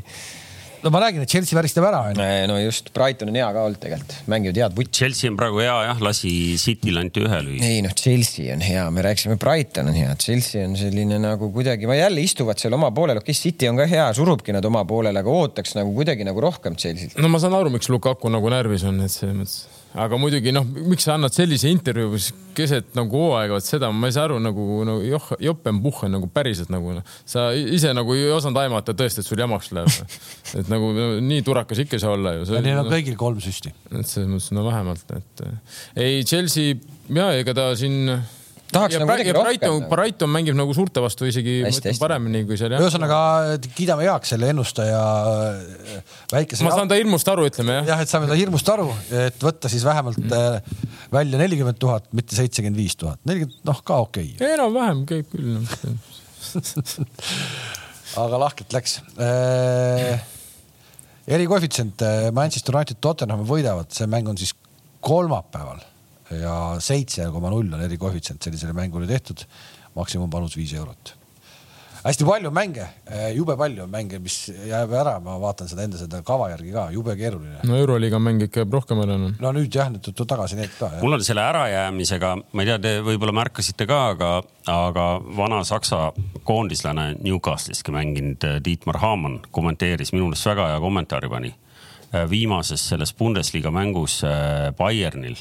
A: no ma räägin , et Chelsea väristab ära , onju .
B: Äh, no just , Brighton on hea ka olnud tegelikult , mängivad head vutt .
D: Chelsea on praegu hea jah , lasi Cityl ainult ühe lüüa .
B: ei noh , Chelsea on hea , me rääkisime , Brighton on hea , Chelsea on selline nagu kuidagi , ma jälle istuvad seal oma poolel , okei okay, , City on ka hea , surubki nad oma poolele , aga ootaks nagu kuidagi nagu rohkem Chelsea't .
C: no ma saan aru , miks Lukaku nagu närvis on , et selles mõttes , aga muidugi noh , miks sa annad sellise intervjuu , kus keset nagu hooaega , vot seda ma ei saa aru nagu , no joh , jopenpuhh on nagu päriselt nagu noh , sa ise nagu ei osanud aimata tõesti , et sul jamaks läheb . et nagu no, nii turakas ikka ei saa olla ju .
A: Neil on kõigil kolm süsti .
C: et selles mõttes no vähemalt , et äh, ei Chelsea ja ega ta siin .
B: Tahaks nagu midagi rohkem
C: Brighton ,
B: nagu.
C: Brighton mängib nagu suurte vastu isegi ma
B: Hästi,
C: ütlen,
B: hästi.
C: paremini kui seal jah .
A: ühesõnaga kiidame heaks selle ennustaja äh, väikese .
C: ma saan ta hirmust aru , ütleme jah .
A: jah , et saame ta hirmust aru , et võtta siis vähemalt äh, välja nelikümmend tuhat , mitte seitsekümmend viis tuhat , nelikümmend , noh ka okei okay. ,
C: enam-vähem käib küll noh, no. .
A: aga lahkelt läks äh, . erikoefitsient äh, Manchester United , Tottenham võidavad , see mäng on siis kolmapäeval ja seitse koma null on erikoefitsient sellisele mängule tehtud . maksimumpanus viis eurot . hästi palju on mänge , jube palju on mänge , mis jääb ära , ma vaatan seda enda seda kava järgi ka , jube keeruline .
C: no euroliiga mäng ikka jääb rohkem ära noh. no. .
A: no nüüd jah , nüüd tuleb tagasi need ka jah.
D: mul on selle ärajäämisega , ma ei tea , te võib-olla märkasite ka , aga , aga vana saksa koondislane Newcastle'iski mänginud eh, Dietmar Hamann kommenteeris , minu meelest väga hea kommentaari pani . viimases selles Bundesliga mängus eh, Bayernil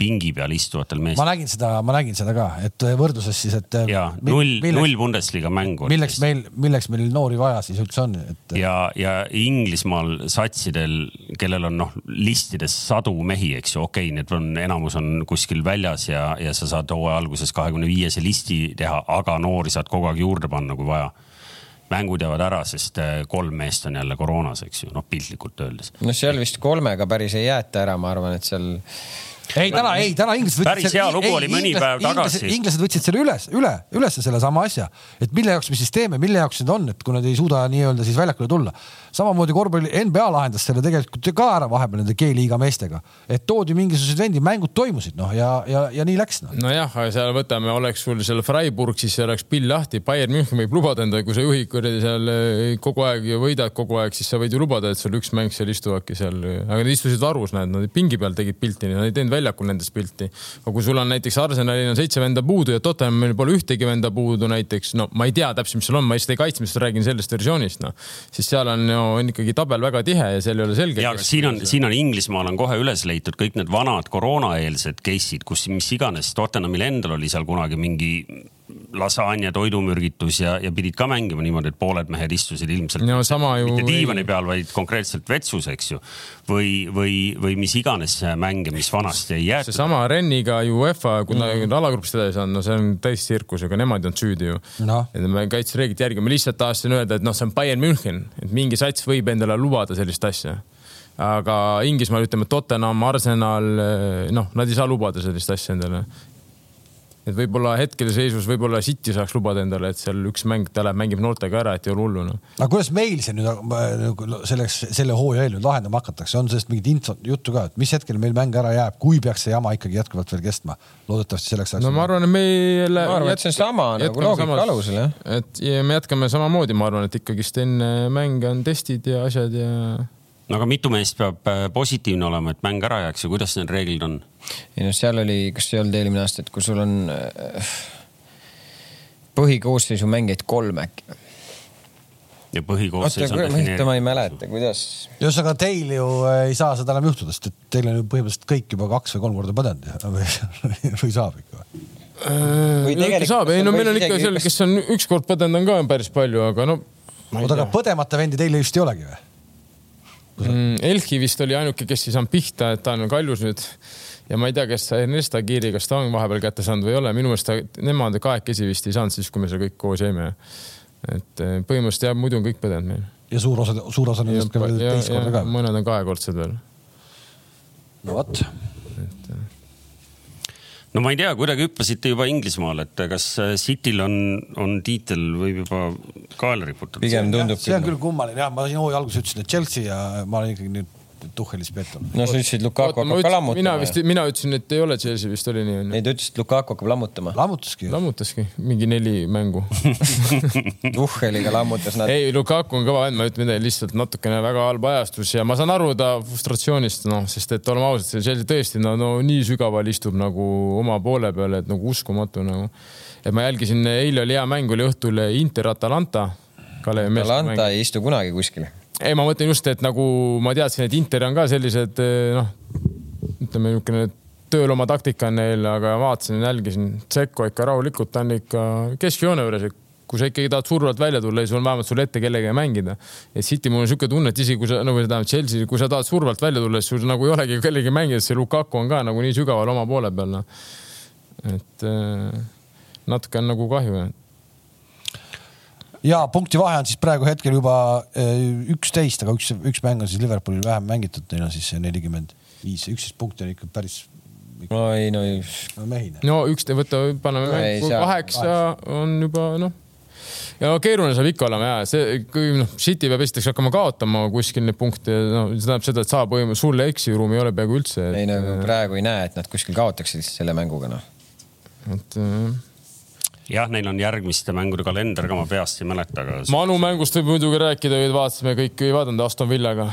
D: pingi peal istuvatel
A: ma
D: meestel
A: nägin seda , ma nägin seda ka , et äh, võrdluses siis , et .
D: ja null , null Bundesliga mängu .
A: milleks meil , milleks meil noori vaja siis üldse on , et äh,
D: ja , ja Inglismaal satsidel , kellel on noh , listides sadu mehi , eks ju , okei okay, , need on , enamus on kuskil väljas ja , ja sa saad hooaja alguses kahekümne viiese listi teha , aga noori saad kogu aeg juurde panna , kui vaja . mängud jäävad ära , sest eh, kolm meest on jälle koroonas , eks ju , noh piltlikult öeldes .
B: noh , seal vist kolmega päris ei jäeta ära , ma arvan , et seal
A: ei täna , ei täna inglased võtsid .
D: Päris hea lugu oli mõni päev tagasi.
A: inglased võtsid selle üles , üle , ülesse sellesama asja , et mille jaoks me siis teeme , mille jaoks need on , et kui nad ei suuda nii-öelda siis väljakule tulla . samamoodi korvpalli , NBA lahendas selle tegelikult ju ka ära vahepeal nende G-liiga meestega , et toodi mingisugused vendid , mängud toimusid noh , ja , ja , ja nii läks noh .
C: nojah , aga seal võtame , oleks sul seal Freiburg , siis oleks pill lahti , Bayern München võib lubada endale , kui sa juhid kuradi seal eh, kogu aeg ja võidad kogu aeg , siis sa võid ju lubada , et sul üks mäng seal istuvadki seal , aga nad istusid varus , näed , nad pingi peal tegid pilti , nad ei teinud väljakul nendest pilti . aga kui sul on näiteks Arsenalil on seitse venda puudu ja Tottenhamil pole ühtegi venda puudu näiteks , no ma ei tea täpselt , mis seal on , ma lihtsalt ei kaitse , mis räägin sellest versioonist , noh . siis seal on ju , on ikkagi tabel väga tihe ja seal ei ole selge .
D: ja , aga siin on , siin on Inglismaal on kohe üles leitud kõik need vanad koroonaeelsed case'id , kus mis iganes Tottenhamil endal oli seal kunagi mingi lasanja toidumürgitus ja , ja pidid ka mängima niimoodi , et pooled mehed istusid ilmselt
C: no sama ju .
D: mitte diivani peal , vaid konkreetselt vetsus , eks ju . või , või , või mis iganes mänge , mis vanasti ei jäetud .
C: seesama Renniga ju UEFA , kui nad mm. alagrupist edasi ei saanud , no see on täis tsirkus , ega nemad ei olnud süüdi ju
A: Noh.
C: et me kaitsereeglid järgime , ma lihtsalt tahtsin öelda , et noh , see on Bayern München , et mingi sats võib endale lubada sellist asja . aga Inglismaal ütleme , Tottenham , Arsenal , noh , nad ei saa lubada sellist asja endale . et võib-olla hetkeseisus võib-olla City saaks lubada endale , et seal üks mäng , ta läheb , mängib noortega ära , et ei ole hullu noh .
A: aga kuidas meil see nüüd äh, nagu selleks , selle hooaja eel nüüd lahendama hakatakse , on sellest mingit infot , juttu ka , et mis hetkel meil mäng ära jääb , kui peaks see jama ikkagi jätkuvalt veel kestma ? loodetavasti selleks ajaks
C: no ma arvan , et meil .
B: Ma arvan, et see on sama nagu loogika alusel, jah. .
C: et ja me jätkame samamoodi , ma arvan , et ikkagist enne mänge on testid ja asjad ja .
D: no aga mitu meest peab äh, positiivne olema , et mäng ära jääks ja kuidas need reeglid on ?
B: ei noh , seal oli , kas see ei olnud eelmine aasta , et kui sul on äh, põhikoosseisu mängijaid kolm äkki . oota ,
D: ja põhikoosseis on
B: kurat , ma
D: defineeritud .
B: ei mäleta , kuidas .
A: ühesõnaga teil ju äh, ei saa seda enam juhtuda , sest et teil on ju põhimõtteliselt kõik juba kaks või kolm korda põdenud ja- või, või saab ikka .
B: Või tegelikult,
C: saab , ei
B: kas
C: no
B: on
C: meil on
B: või
C: ikka
B: isegi-
C: seal , kes on ükskord põdenud , on ka päris palju , aga no .
A: oota , aga põdemata vendi teil vist ei olegi või ?
C: Elchi mm, vist oli ainuke , kes ei saanud pihta , et ta on kaljus nüüd . ja ma ei tea , kas Ernesta Kiiri , kas ta on vahepeal kätte saanud või ei ole , minu meelest ta , nemad kahekesi vist ei saanud siis , kui me seal kõik koos jäime . et eh, põhimõtteliselt jah , muidu on kõik põdenud meil .
A: ja suur osa , suur osa nendest ka veel teist korda ka .
C: mõned on kahekordselt veel .
A: no vot .
D: no ma ei tea , kuidagi hüppasite juba Inglismaale , et kas äh, Cityl on , on tiitel , võib juba kaela riputada .
B: pigem tundub
A: see on
B: küll .
A: küll kummaline jah , ma siin hooaja alguses ütlesin , et Chelsea ja ma olen ikkagi nüüd Tuhhelis pettunud .
B: no sa ütlesid , Lukaku hakkab ka lammutama .
C: mina vist , mina ütlesin , et ei ole Chelsea vist oli nii onju .
B: ei , ta ütles , et Lukaku hakkab lammutama .
A: lammutaski .
C: lammutaski mingi neli mängu .
B: Tuhheliga lammutas nad .
C: ei , Lukaku on kõva vend , ma ütlen midagi lihtsalt natukene väga halb ajastus ja ma saan aru ta frustratsioonist , noh , sest et oleme ausad , see Chelsea tõesti no, no nii sügaval istub nagu oma poole peal , et nagu uskumatu nagu . et ma jälgisin , eile oli hea mäng , oli õhtul Inter Atalanta . Kalevi meeskonnamäng .
B: Atalanta ei istu kunagi kuskile .
C: ei , ma mõtlen just , et nagu ma teadsin , et Inter on ka sellised eh, noh , ütleme niisugune tööl oma taktika on neil , aga vaatasin , jälgisin , Tšekko ikka rahulikult ta on ikka keskjoone juures , et kui sa ikkagi tahad survalt välja tulla , siis on vähemalt sul ette kellegagi mängida . et City mul on niisugune tunne , et isegi kui sa nagu tähendab Chelsea , kui sa tahad survalt välja tulla , siis sul nagu ei olegi kellegi mängida , see Lukaku on ka nagu nii sügaval oma poole peal noh. et eh, natuke on nagu kahju .
A: ja punkti vahe on siis praegu hetkel juba eh, üksteist , aga üks , üks mäng on siis Liverpoolil vähem mängitud , neil on siis nelikümmend viis , üksteist punkti on ikka päris
B: no ei , no ei ,
A: no, mehine .
C: no üks , võta ,
B: No
C: paneme
B: ei
C: kui
B: saa.
C: kaheksa on juba noh . ja keeruline saab ikka olema ja see , kui noh , City peab esiteks hakkama kaotama kuskil neid punkte , noh , see tähendab seda , et saab põhimõtteliselt , sul eksiruumi ei ole peaaegu üldse .
B: ei no praegu ei näe , et nad kuskil kaotaksid selle mänguga noh .
C: et äh,
D: jah , neil on järgmiste mängude kalender ka , ma peast ei mäleta , aga ma...
C: Manu mängust võib muidugi rääkida , vaatasime kõik , ei vaadanud Aston Villaga .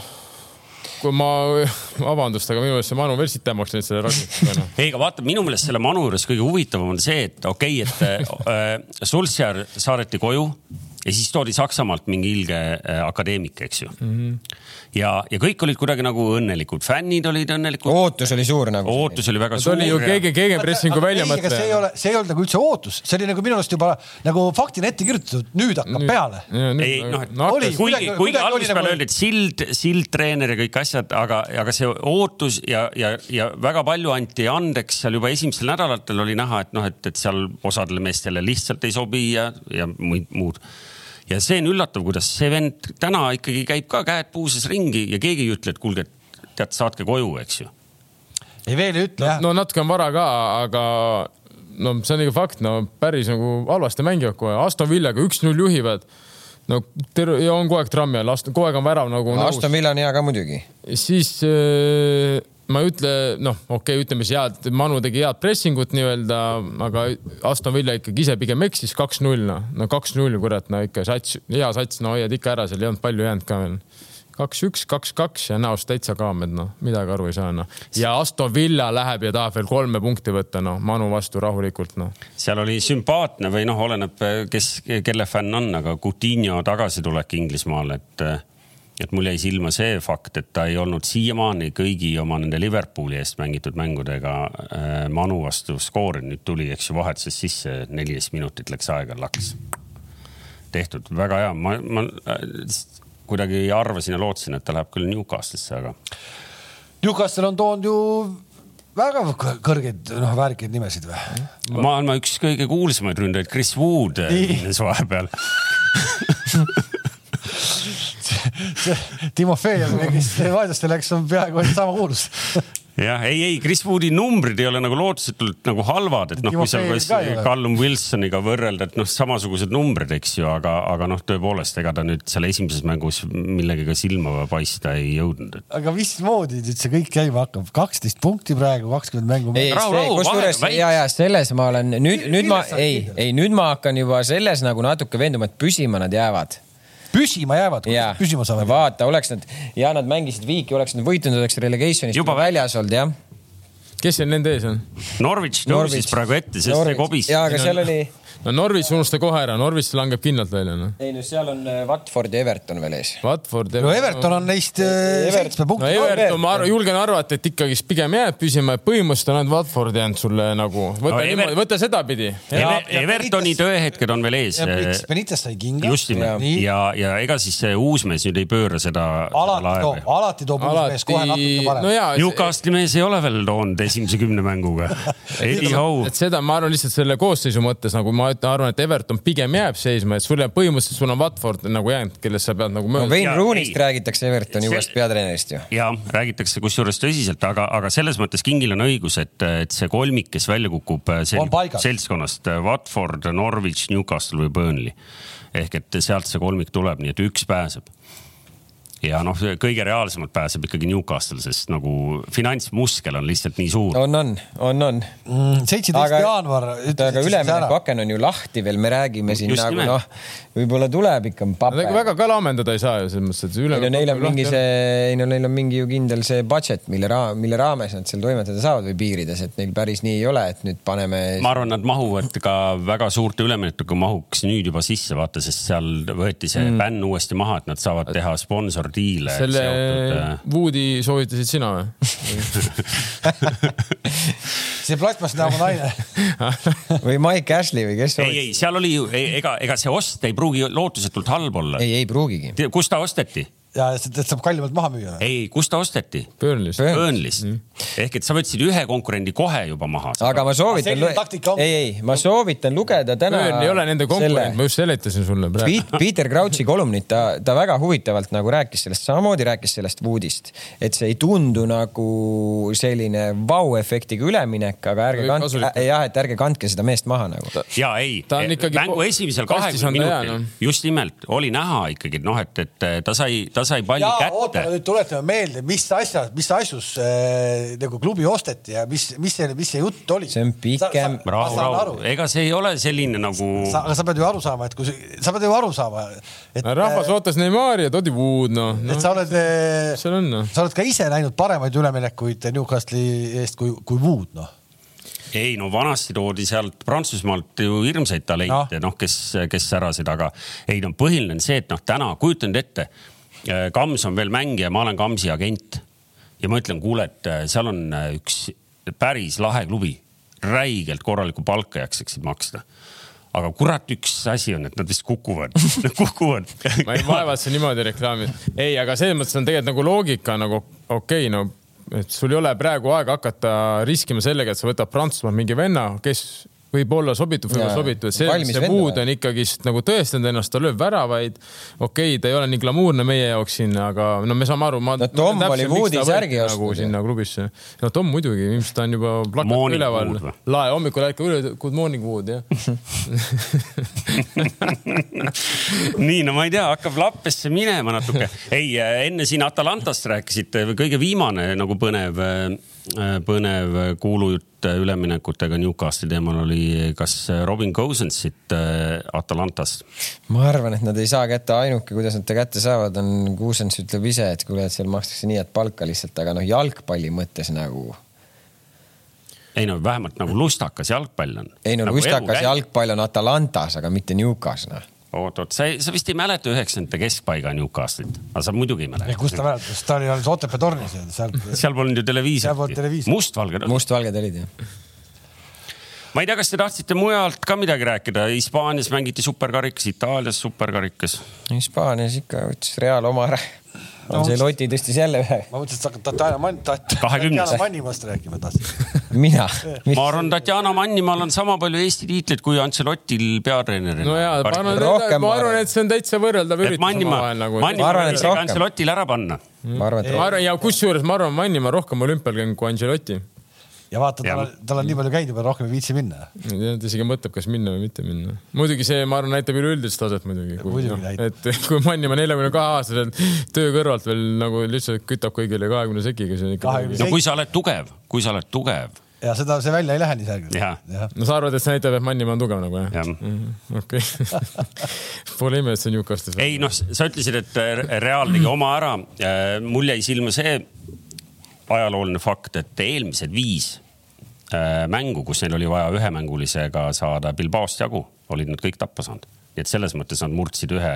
C: kui ma , vabandust , aga minu meelest see Manu veel sitemaks läinud selle rakendusega noh .
D: ei , aga vaata , minu meelest selle manu juures kõige huvitavam on see , et okei okay, , et äh, Solskjaer saadeti koju ja siis toodi Saksamaalt mingi ilge äh, akadeemik , eks ju mm .
C: Mhm.
D: -hmm. ja , ja kõik olid kuidagi nagu õnnelikud , fännid olid õnnelikud ,
B: ootus oli suur nagu .
D: ootus oli väga
C: Oh. see
D: suur .
C: oli ju keegi , keegi pressingu välja
A: see ei
C: mõtleja . noh.
A: ole , see ei olnud nagu üldse ootus , see oli nagu minu arust juba nagu faktina ette kirjutatud , nüüd hakkab peale .
D: ei
C: nagu
D: noh , et
A: hakkas.
D: oli,
A: Kuidagi-
D: kuigi ,
A: kuidagi
D: kuigi
A: oli
D: algusest
A: nagu-
D: peale öeldi , et sild , sildtreener ja kõik asjad , aga , aga see ootus ja , ja , ja väga palju anti andeks seal juba esimestel nädalatel oli näha , et noh , et , et seal osadele meestele lihtsalt ei sobi ja , ja muid muud . ja see on üllatav , kuidas see vend täna ikkagi käib ka käed puuses ringi ja keegi ei ütle , et kuulge , tead , saatke koju , eks ju .
A: ei veel ei ütle jah .
C: no natuke on vara ka , aga no see on ikka fakt , no päris nagu halvasti mängivad kohe , Aston Villaga üks-null juhivad . no terve , ja on kogu aeg trammi all , Aston , kogu aeg on värav nagu nõus
B: Aston Villa on hea ka muidugi .
C: siis äh, ma ei ütle , noh , okei okay, , ütleme siis head , Manu tegi head pressingut nii-öelda , aga Aston Villa ikkagi ise pigem eksis kaks-null , noh , no kaks-null , kurat , no ikka sats , hea sats , no hoiad ikka ära , seal ei olnud palju jäänud ka veel kaks-üks , kaks-kaks ja näost täitsa kaamed , noh , midagi aru ei saa , noh . ja Aston Villa läheb ja tahab veel kolme punkti võtta , noh , Manu vastu rahulikult , noh .
D: seal oli sümpaatne või noh , oleneb , kes , kelle fänn on , aga Coutinho tagasitulek Inglismaale , et , et mul jäi silma see fakt , et ta ei olnud siiamaani kõigi oma nende Liverpooli eest mängitud mängudega äh, manu vastu skoorinud , nüüd tuli , eks ju , vahetuses sisse , neliteist minutit läks aega , laks . tehtud , väga hea , ma , ma äh, s- kuidagi arvasin ja lootsin , et ta läheb küll Newcastle'isse , aga
A: Newcastle on toonud ju väga kõ- kõrgeid , noh , väärikaid nimesid või ?
D: maailma üks kõige kuulsamaid ründajaid , Chris Wood äh,
A: Nii.
D: ühines vahepeal
A: Timofejev , kes vaesesse läks , on peaaegu oli sama kuulus .
D: jah , ei , ei Chris Woodi numbrid ei ole nagu lootusetult nagu halvad , et noh ,
A: Timo
D: kui sa
A: Feyeril
D: kas-
A: ka ei ole.
D: Callum Wilsoniga võrrelda , et noh , samasugused numbrid , eks ju , aga , aga noh , tõepoolest , ega ta nüüd seal esimeses mängus millegagi silma paista ei jõudnud .
A: aga mismoodi nüüd see kõik käima hakkab ? kaksteist punkti praegu , kakskümmend mängu .
B: ei ,
D: Rahu,
B: see ,
D: rahu,
B: kusjuures
D: vahe-
B: ja , ja selles ma olen nüüd , nüüd ma
A: Milles sa oled
B: ei ,
A: kindel?
B: ei nüüd ma hakkan juba selles nagu natuke veenduma , et püsima nad jäävad .
A: püsima jäävad ,
B: ja
A: püsima saavad .
B: vaata , oleks nad ja nad mängisid viiki , oleks nad võitnud , oleks relegation'ist
D: Juba
B: juba väljas olnud jah .
C: kes seal nende ees on ?
D: Norwich tõusis praegu ette , sest see kobis .
B: ja , aga seal oli ,
C: no Norwich unusta kohe ära , Norwich langeb kindlalt välja , noh .
B: ei no seal on äh, Watford ja Everton veel ees .
C: Watford .
A: no Everton on neist äh,
B: Evert-
A: seitsme
C: no
A: punkti
C: Everton ,
A: kaugel .
C: ma arvan , julgen arvata , et ikkagi pigem jääb püsima , et põhimõtteliselt on ainult Watford jäänud sulle nagu ,
D: No
C: võta no,
D: Ever-
C: niimoodi , võta sedapidi .
A: ja-
D: Evertoni tööhetked on veel ees .
A: Benitez sai kinga .
D: just nimelt
A: nii ,
D: ja , ja ega siis see uus mees nüüd ei pööra seda
A: alati
D: laeva
A: toob , alati toob uus mees kohe
C: alati
A: natuke ,
C: no
A: parem .
C: jaa ,
D: Newcastle'i mees ei ole veel toonud esimese kümne mänguga . Anyhow ,
C: et seda ma arvan lihtsalt selle koosseisu mõttes nagu ma ütlen, arvan , et Everton pigem jääb seisma , et sul jääb põhimõtteliselt , sul on Watford nagu jäänud , kellest sa pead nagu
B: no
C: mööda .
B: Wayne
D: Jaa,
B: Rooney'st
D: ei.
B: räägitakse Evertoni
D: See-
B: uuest peatreenerist ju .
D: ja räägitakse kusjuures tõsiselt , aga , aga selles mõttes Kingil on õigus , et , et see kolmik , kes välja kukub äh, sel,
A: On paigas.
D: seltskonnast , Watford , Norwich , Newcastle või Burnley . ehk et sealt see kolmik tuleb , nii et üks pääseb . ja noh , kõige reaalsemalt pääseb ikkagi Newcastle , sest nagu finantsmuskel on lihtsalt nii suur .
B: on , on , on , on .
A: Mm, seitseteist jaanuar .
B: aga üleminekuaken on ju lahti veel , me räägime siin
D: Just
B: nagu
D: nimelt.
B: noh , võib-olla tuleb ikka
C: Nagu
B: pape .
C: väga ka laamendada ei saa ju selles mõttes , et üle
B: ei no neil on mingi see , ei no neil on mingi ju kindel see budget , mille raam , mille raames nad seal toimetada saavad või piirides , et neil päris nii ei ole , et nüüd paneme .
D: ma arvan , nad mahuvad ka väga suurte üleminekuga mahuks nüüd juba sisse , vaata , sest seal võeti see mm. bänn uuesti maha , et nad saavad teha sponsordiile
C: selle
D: seotud . äh,
C: Woodi soovitasid sina või ?
A: see plasmas näoga naine .
B: või Mike Ashley või kes
D: ei , ei , seal oli ju , ega , ega see ost ei pruugi lootusetult halb olla .
B: ei , ei pruugigi .
D: kus ta osteti ?
A: ja seda saab kallimalt maha müüa .
D: ei , kus ta osteti ?
C: Burnley's .
B: Burnley.
D: Burnley'st
C: Mhm.
D: mm. . ehk et sa võtsid ühe konkurendi kohe juba maha .
C: Ah.
B: aga ma soovitan
A: selline taktika , on.
B: ei , ei , ma soovitan lugeda täna .
C: Burnley ei ole nende konkurent , ma just seletasin sulle praegu .
B: Piet- Peter Crouchi kolumnit , ta , ta väga huvitavalt nagu rääkis sellest , samamoodi rääkis sellest Woodist , et see ei tundu nagu selline vau-efektiga üleminek , aga ärge
C: Aga
B: kandke
C: kasulik. ,
B: jah , et ärge kandke seda meest maha nagu .
D: ja ei eh,
C: Ta on , ikkagi
D: mängu
C: po-
D: esimesel
C: kastis on noh.
D: kahekümnel
C: ta
D: minutil
C: jäänud.
D: just nimelt oli näha ikkagi , et noh , et , et ta sai , ta sai palli
A: ja
D: ja,
A: oota ,
D: kätte .
A: nüüd tuletame meelde , mis asja , mis asjus äh, nagu klubi osteti ja mis , mis see , mis see jutt oli .
B: See on pikem-
D: rahu , rahu , ega see ei ole selline nagu
A: sa , aga sa pead ju aru saama , et kui sa , sa pead ju aru saama , et
C: rahvas ootas Neimari ja Todi Wood , noh .
A: et sa oled ,
C: seal on, noh.
A: sa oled ka ise näinud paremaid üleminekuid Newcastle'i eest kui , kui muud noh .
D: ei no vanasti toodi sealt Prantsusmaalt ju hirmsaid talente , noh , kes , kes särasid , aga ei no põhiline on see , et noh , täna kujuta nüüd ette , Kams on veel mängija , ma olen Kamsi agent ja ma ütlen , kuule , et äh, seal on äh, üks päris lahe klubi , räigelt korralikku palka jaksaksid maksta aga kurat , üks asi on , et nad vist kukuvad , kukuvad .
C: ma ei vaevata niimoodi reklaami . ei , aga selles mõttes on tegelikult nagu loogika nagu okei okay, , no et sul ei ole praegu aega hakata riskima sellega , et sa võtad Prantsusmaalt mingi venna , kes võib-olla sobitub , võib-olla
B: Jaa.
C: sobitu , et see ,
B: Valmis
C: see
B: vend
C: puud
B: või?
C: on ikkagist nagu tõestanud ennast , ta lööb väravaid . okei okay, , ta ei ole nii glamuurne meie jaoks siin , aga no me saame aru , ma .
B: No Tom oli Woodi särgi
C: nagu
B: ostnud ju.
C: sinna klubisse . no Tom muidugi , ilmselt ta on juba plakat
D: Morning
C: üleval
D: Wood või? .
C: lae hommikul ärkab üle , good morning Wood jah .
D: nii , no ma ei tea , hakkab lappesse minema natuke . ei , enne siin Atalantast rääkisite , kõige viimane nagu põnev , põnev kuulujutt äh, üleminekutega Newcastle'i teemal oli , kas äh, Robin Cosensit äh, Atalantas .
B: ma arvan , et nad ei saa kätte , ainuke , kuidas nad ta kätte saavad , on Kuusens ütleb ise , et kuule , et seal makstakse nii , et palka lihtsalt , aga noh , jalgpalli mõttes nagu
D: ei no vähemalt nagu lustakas jalgpall on .
B: ei no nagu lustakas . jalgpall on Atalantas , aga mitte Newcas noh .
D: oot , oot , sa , sa vist ei mäleta üheksakümnendate keskpaiga Newcastle'it , aga sa muidugi ei mäleta .
A: kust ta mäletab , sest ta oli alles Otepää tornis ja sealt .
D: seal polnud ju
A: Seal polnud
D: televiisorit .
A: televiisorit.
D: mustvalge ,
B: mustvalged olid jah .
D: ma ei tea , kas te tahtsite mujalt ka midagi rääkida , Hispaanias mängiti superkarikas , Itaalias superkarikas .
B: Hispaanias ikka võttis Real oma ära . on see Loti tõstis jälle ühe .
A: ma mõtlesin , et sa hakkad Tatjana Mann ,
D: Kahekümnes.
A: Tatjana Mannimast rääkima tahtsid .
B: mina .
D: ma arvan , Tatjana Mannimaal on sama palju Eesti tiitleid kui Ancelotil peatreenerina .
C: no ja , ma arvan ,
B: Rohkem
C: ma arvan ,
B: ma-
C: et see on täitsa võrreldav
D: et
C: üritus
D: Mannimaa ,
C: omavahel nagu .
D: Mannimaa
B: Ma arvan,
D: võib
B: et
D: isegi
B: rohkem.
D: Ancelotil ära panna .
B: ma arvan , et
C: ma arvan ja kusjuures ma arvan , Mannimaa rohkem olümpial käinud kui Angelotti .
A: ja vaata ,
D: Ja.
A: tal on , tal on nii palju käinud juba , rohkem ei viitsi minna .
C: ma ei tea , ta isegi mõtleb , kas minna või mitte minna . muidugi see , ma arvan , näitab üleüldist taset muidugi .
A: Muidugi näitab.
C: et kui Mannimaa neljakümne kahe aastaselt töö kõrvalt veel nagu lihtsalt kütab kõigile kahekümne sekiga , see on ikka . nagu-
A: 20
D: no kui sa oled tugev , kui sa oled tugev ,
A: ja seda , see välja ei lähe nii särgelt .
D: Jah.
C: no sa arvad , et see näitab , et Mannimaa on tugev nagu jah ?
D: jah .
C: okei . Pole ime , et see on Newcastle .
D: ei noh , sa ütlesid , et äh, Real tegi oma ära . mul jäi silma see ajalooline fakt , et eelmised viis äh, mängu , kus neil oli vaja ühemängulisega saada Bilbaost jagu , olid nad kõik tappa saanud . nii et selles mõttes nad murdsid ühe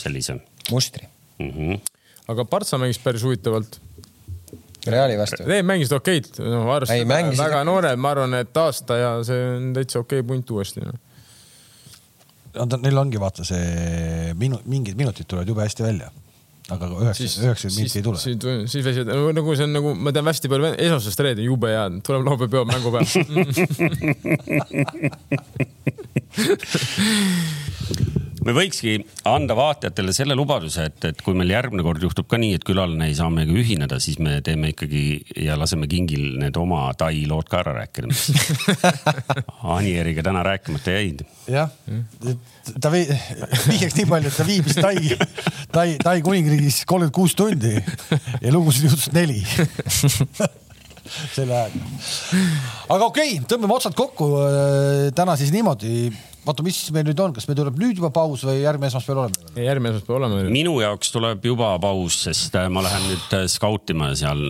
D: sellise
B: mustri .
D: mm . -hmm.
C: aga Partsa mängis päris huvitavalt
B: Reali vastu .
C: Need mängisid okeilt , no
B: Ei,
C: arvestades
B: mängisid
C: väga
B: okeilt.
C: noored , ma arvan , et aasta ja see on täitsa okei punt uuesti noh. no. .
A: Neil ongi vaata see minu , mingid minutid tulevad jube hästi välja . aga üheksakümmend , üheksakümmend minti ei tule .
C: siis, siis väsid , nagu see on nagu , ma tean hästi palju , esmaspäevast reede on jube hea , tuleb laupäev , peab Mm, mängupäev .
D: me võikski anda vaatajatele selle lubaduse , et , et kui meil järgmine kord juhtub ka nii , et külaline ei saa meiega ühineda , siis me teeme ikkagi ja laseme kingil need oma tai lood ka ära rääkida , mis Anieriga täna rääkimata jäid .
A: jah , ta vei- , vihjaks nii palju , et ta viibis Tai , Tai , Tai kuningriigis kolmkümmend kuus tundi ja lugusid juhtus neli selle ajaga . aga okei okay, , tõmbame otsad kokku äh, täna siis niimoodi . vaata , mis meil nüüd on , kas meil tuleb nüüd juba paus või järgmine esmaspäev oleme ?
C: järgmine esmaspäev oleme .
D: minu jaoks tuleb juba paus , sest äh, ma lähen nüüd skautima seal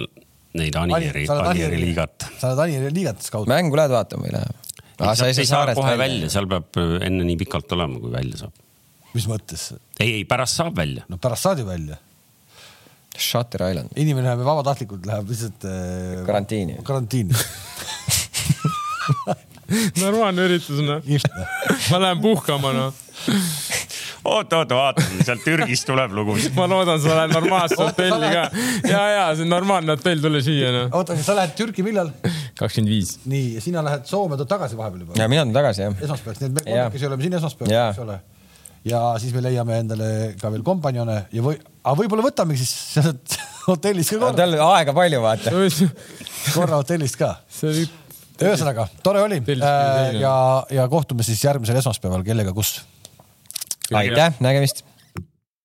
D: neid Anieri , Anieri liigat .
A: sa oled Anieri liigat scout .
B: mängu lähed vaatama või ei lähe ?
D: Ah, sa ei saa kohe välja , seal peab äh, enne nii pikalt olema , kui välja saab .
A: mis mõttes ?
D: ei , ei pärast saab välja .
A: no pärast saad ju välja .
B: Shutter Island .
A: inimene läheb ju vabatahtlikult , läheb lihtsalt äh,
B: Karantiini.
A: karantiini .
C: normaalne üritus noh .
A: lihtne .
C: ma lähen puhkama noh .
D: oot , oot , vaatame , sealt Türgist tuleb lugusid .
C: ma loodan , sa lähed normaalse hotelli ka . ja , ja see on normaalne hotell , tule siia noh .
A: oota , aga sa lähed Türki millal ?
C: kakskümmend viis .
A: nii , ja sina lähed Soome , tuled tagasi vahepeal juba ?
B: ja mina tulen tagasi jah .
A: esmaspäevaks , nii et me
B: Jaa.
A: kolmekesi oleme siin esmaspäeval ,
B: Jaa.
A: eks ole . ja siis me leiame endale ka veel kompanjone ja või , aga võib-olla võtamegi siis sealt hotellis ka korra ,
B: tal on aega palju vaata .
A: korra hotellist ka .
C: see oli ,
A: ühesõnaga , tore oli Äh,
C: Tellis küll teine.
A: ja , ja kohtume siis järgmisel esmaspäeval , kellega , kus
B: aitäh , nägemist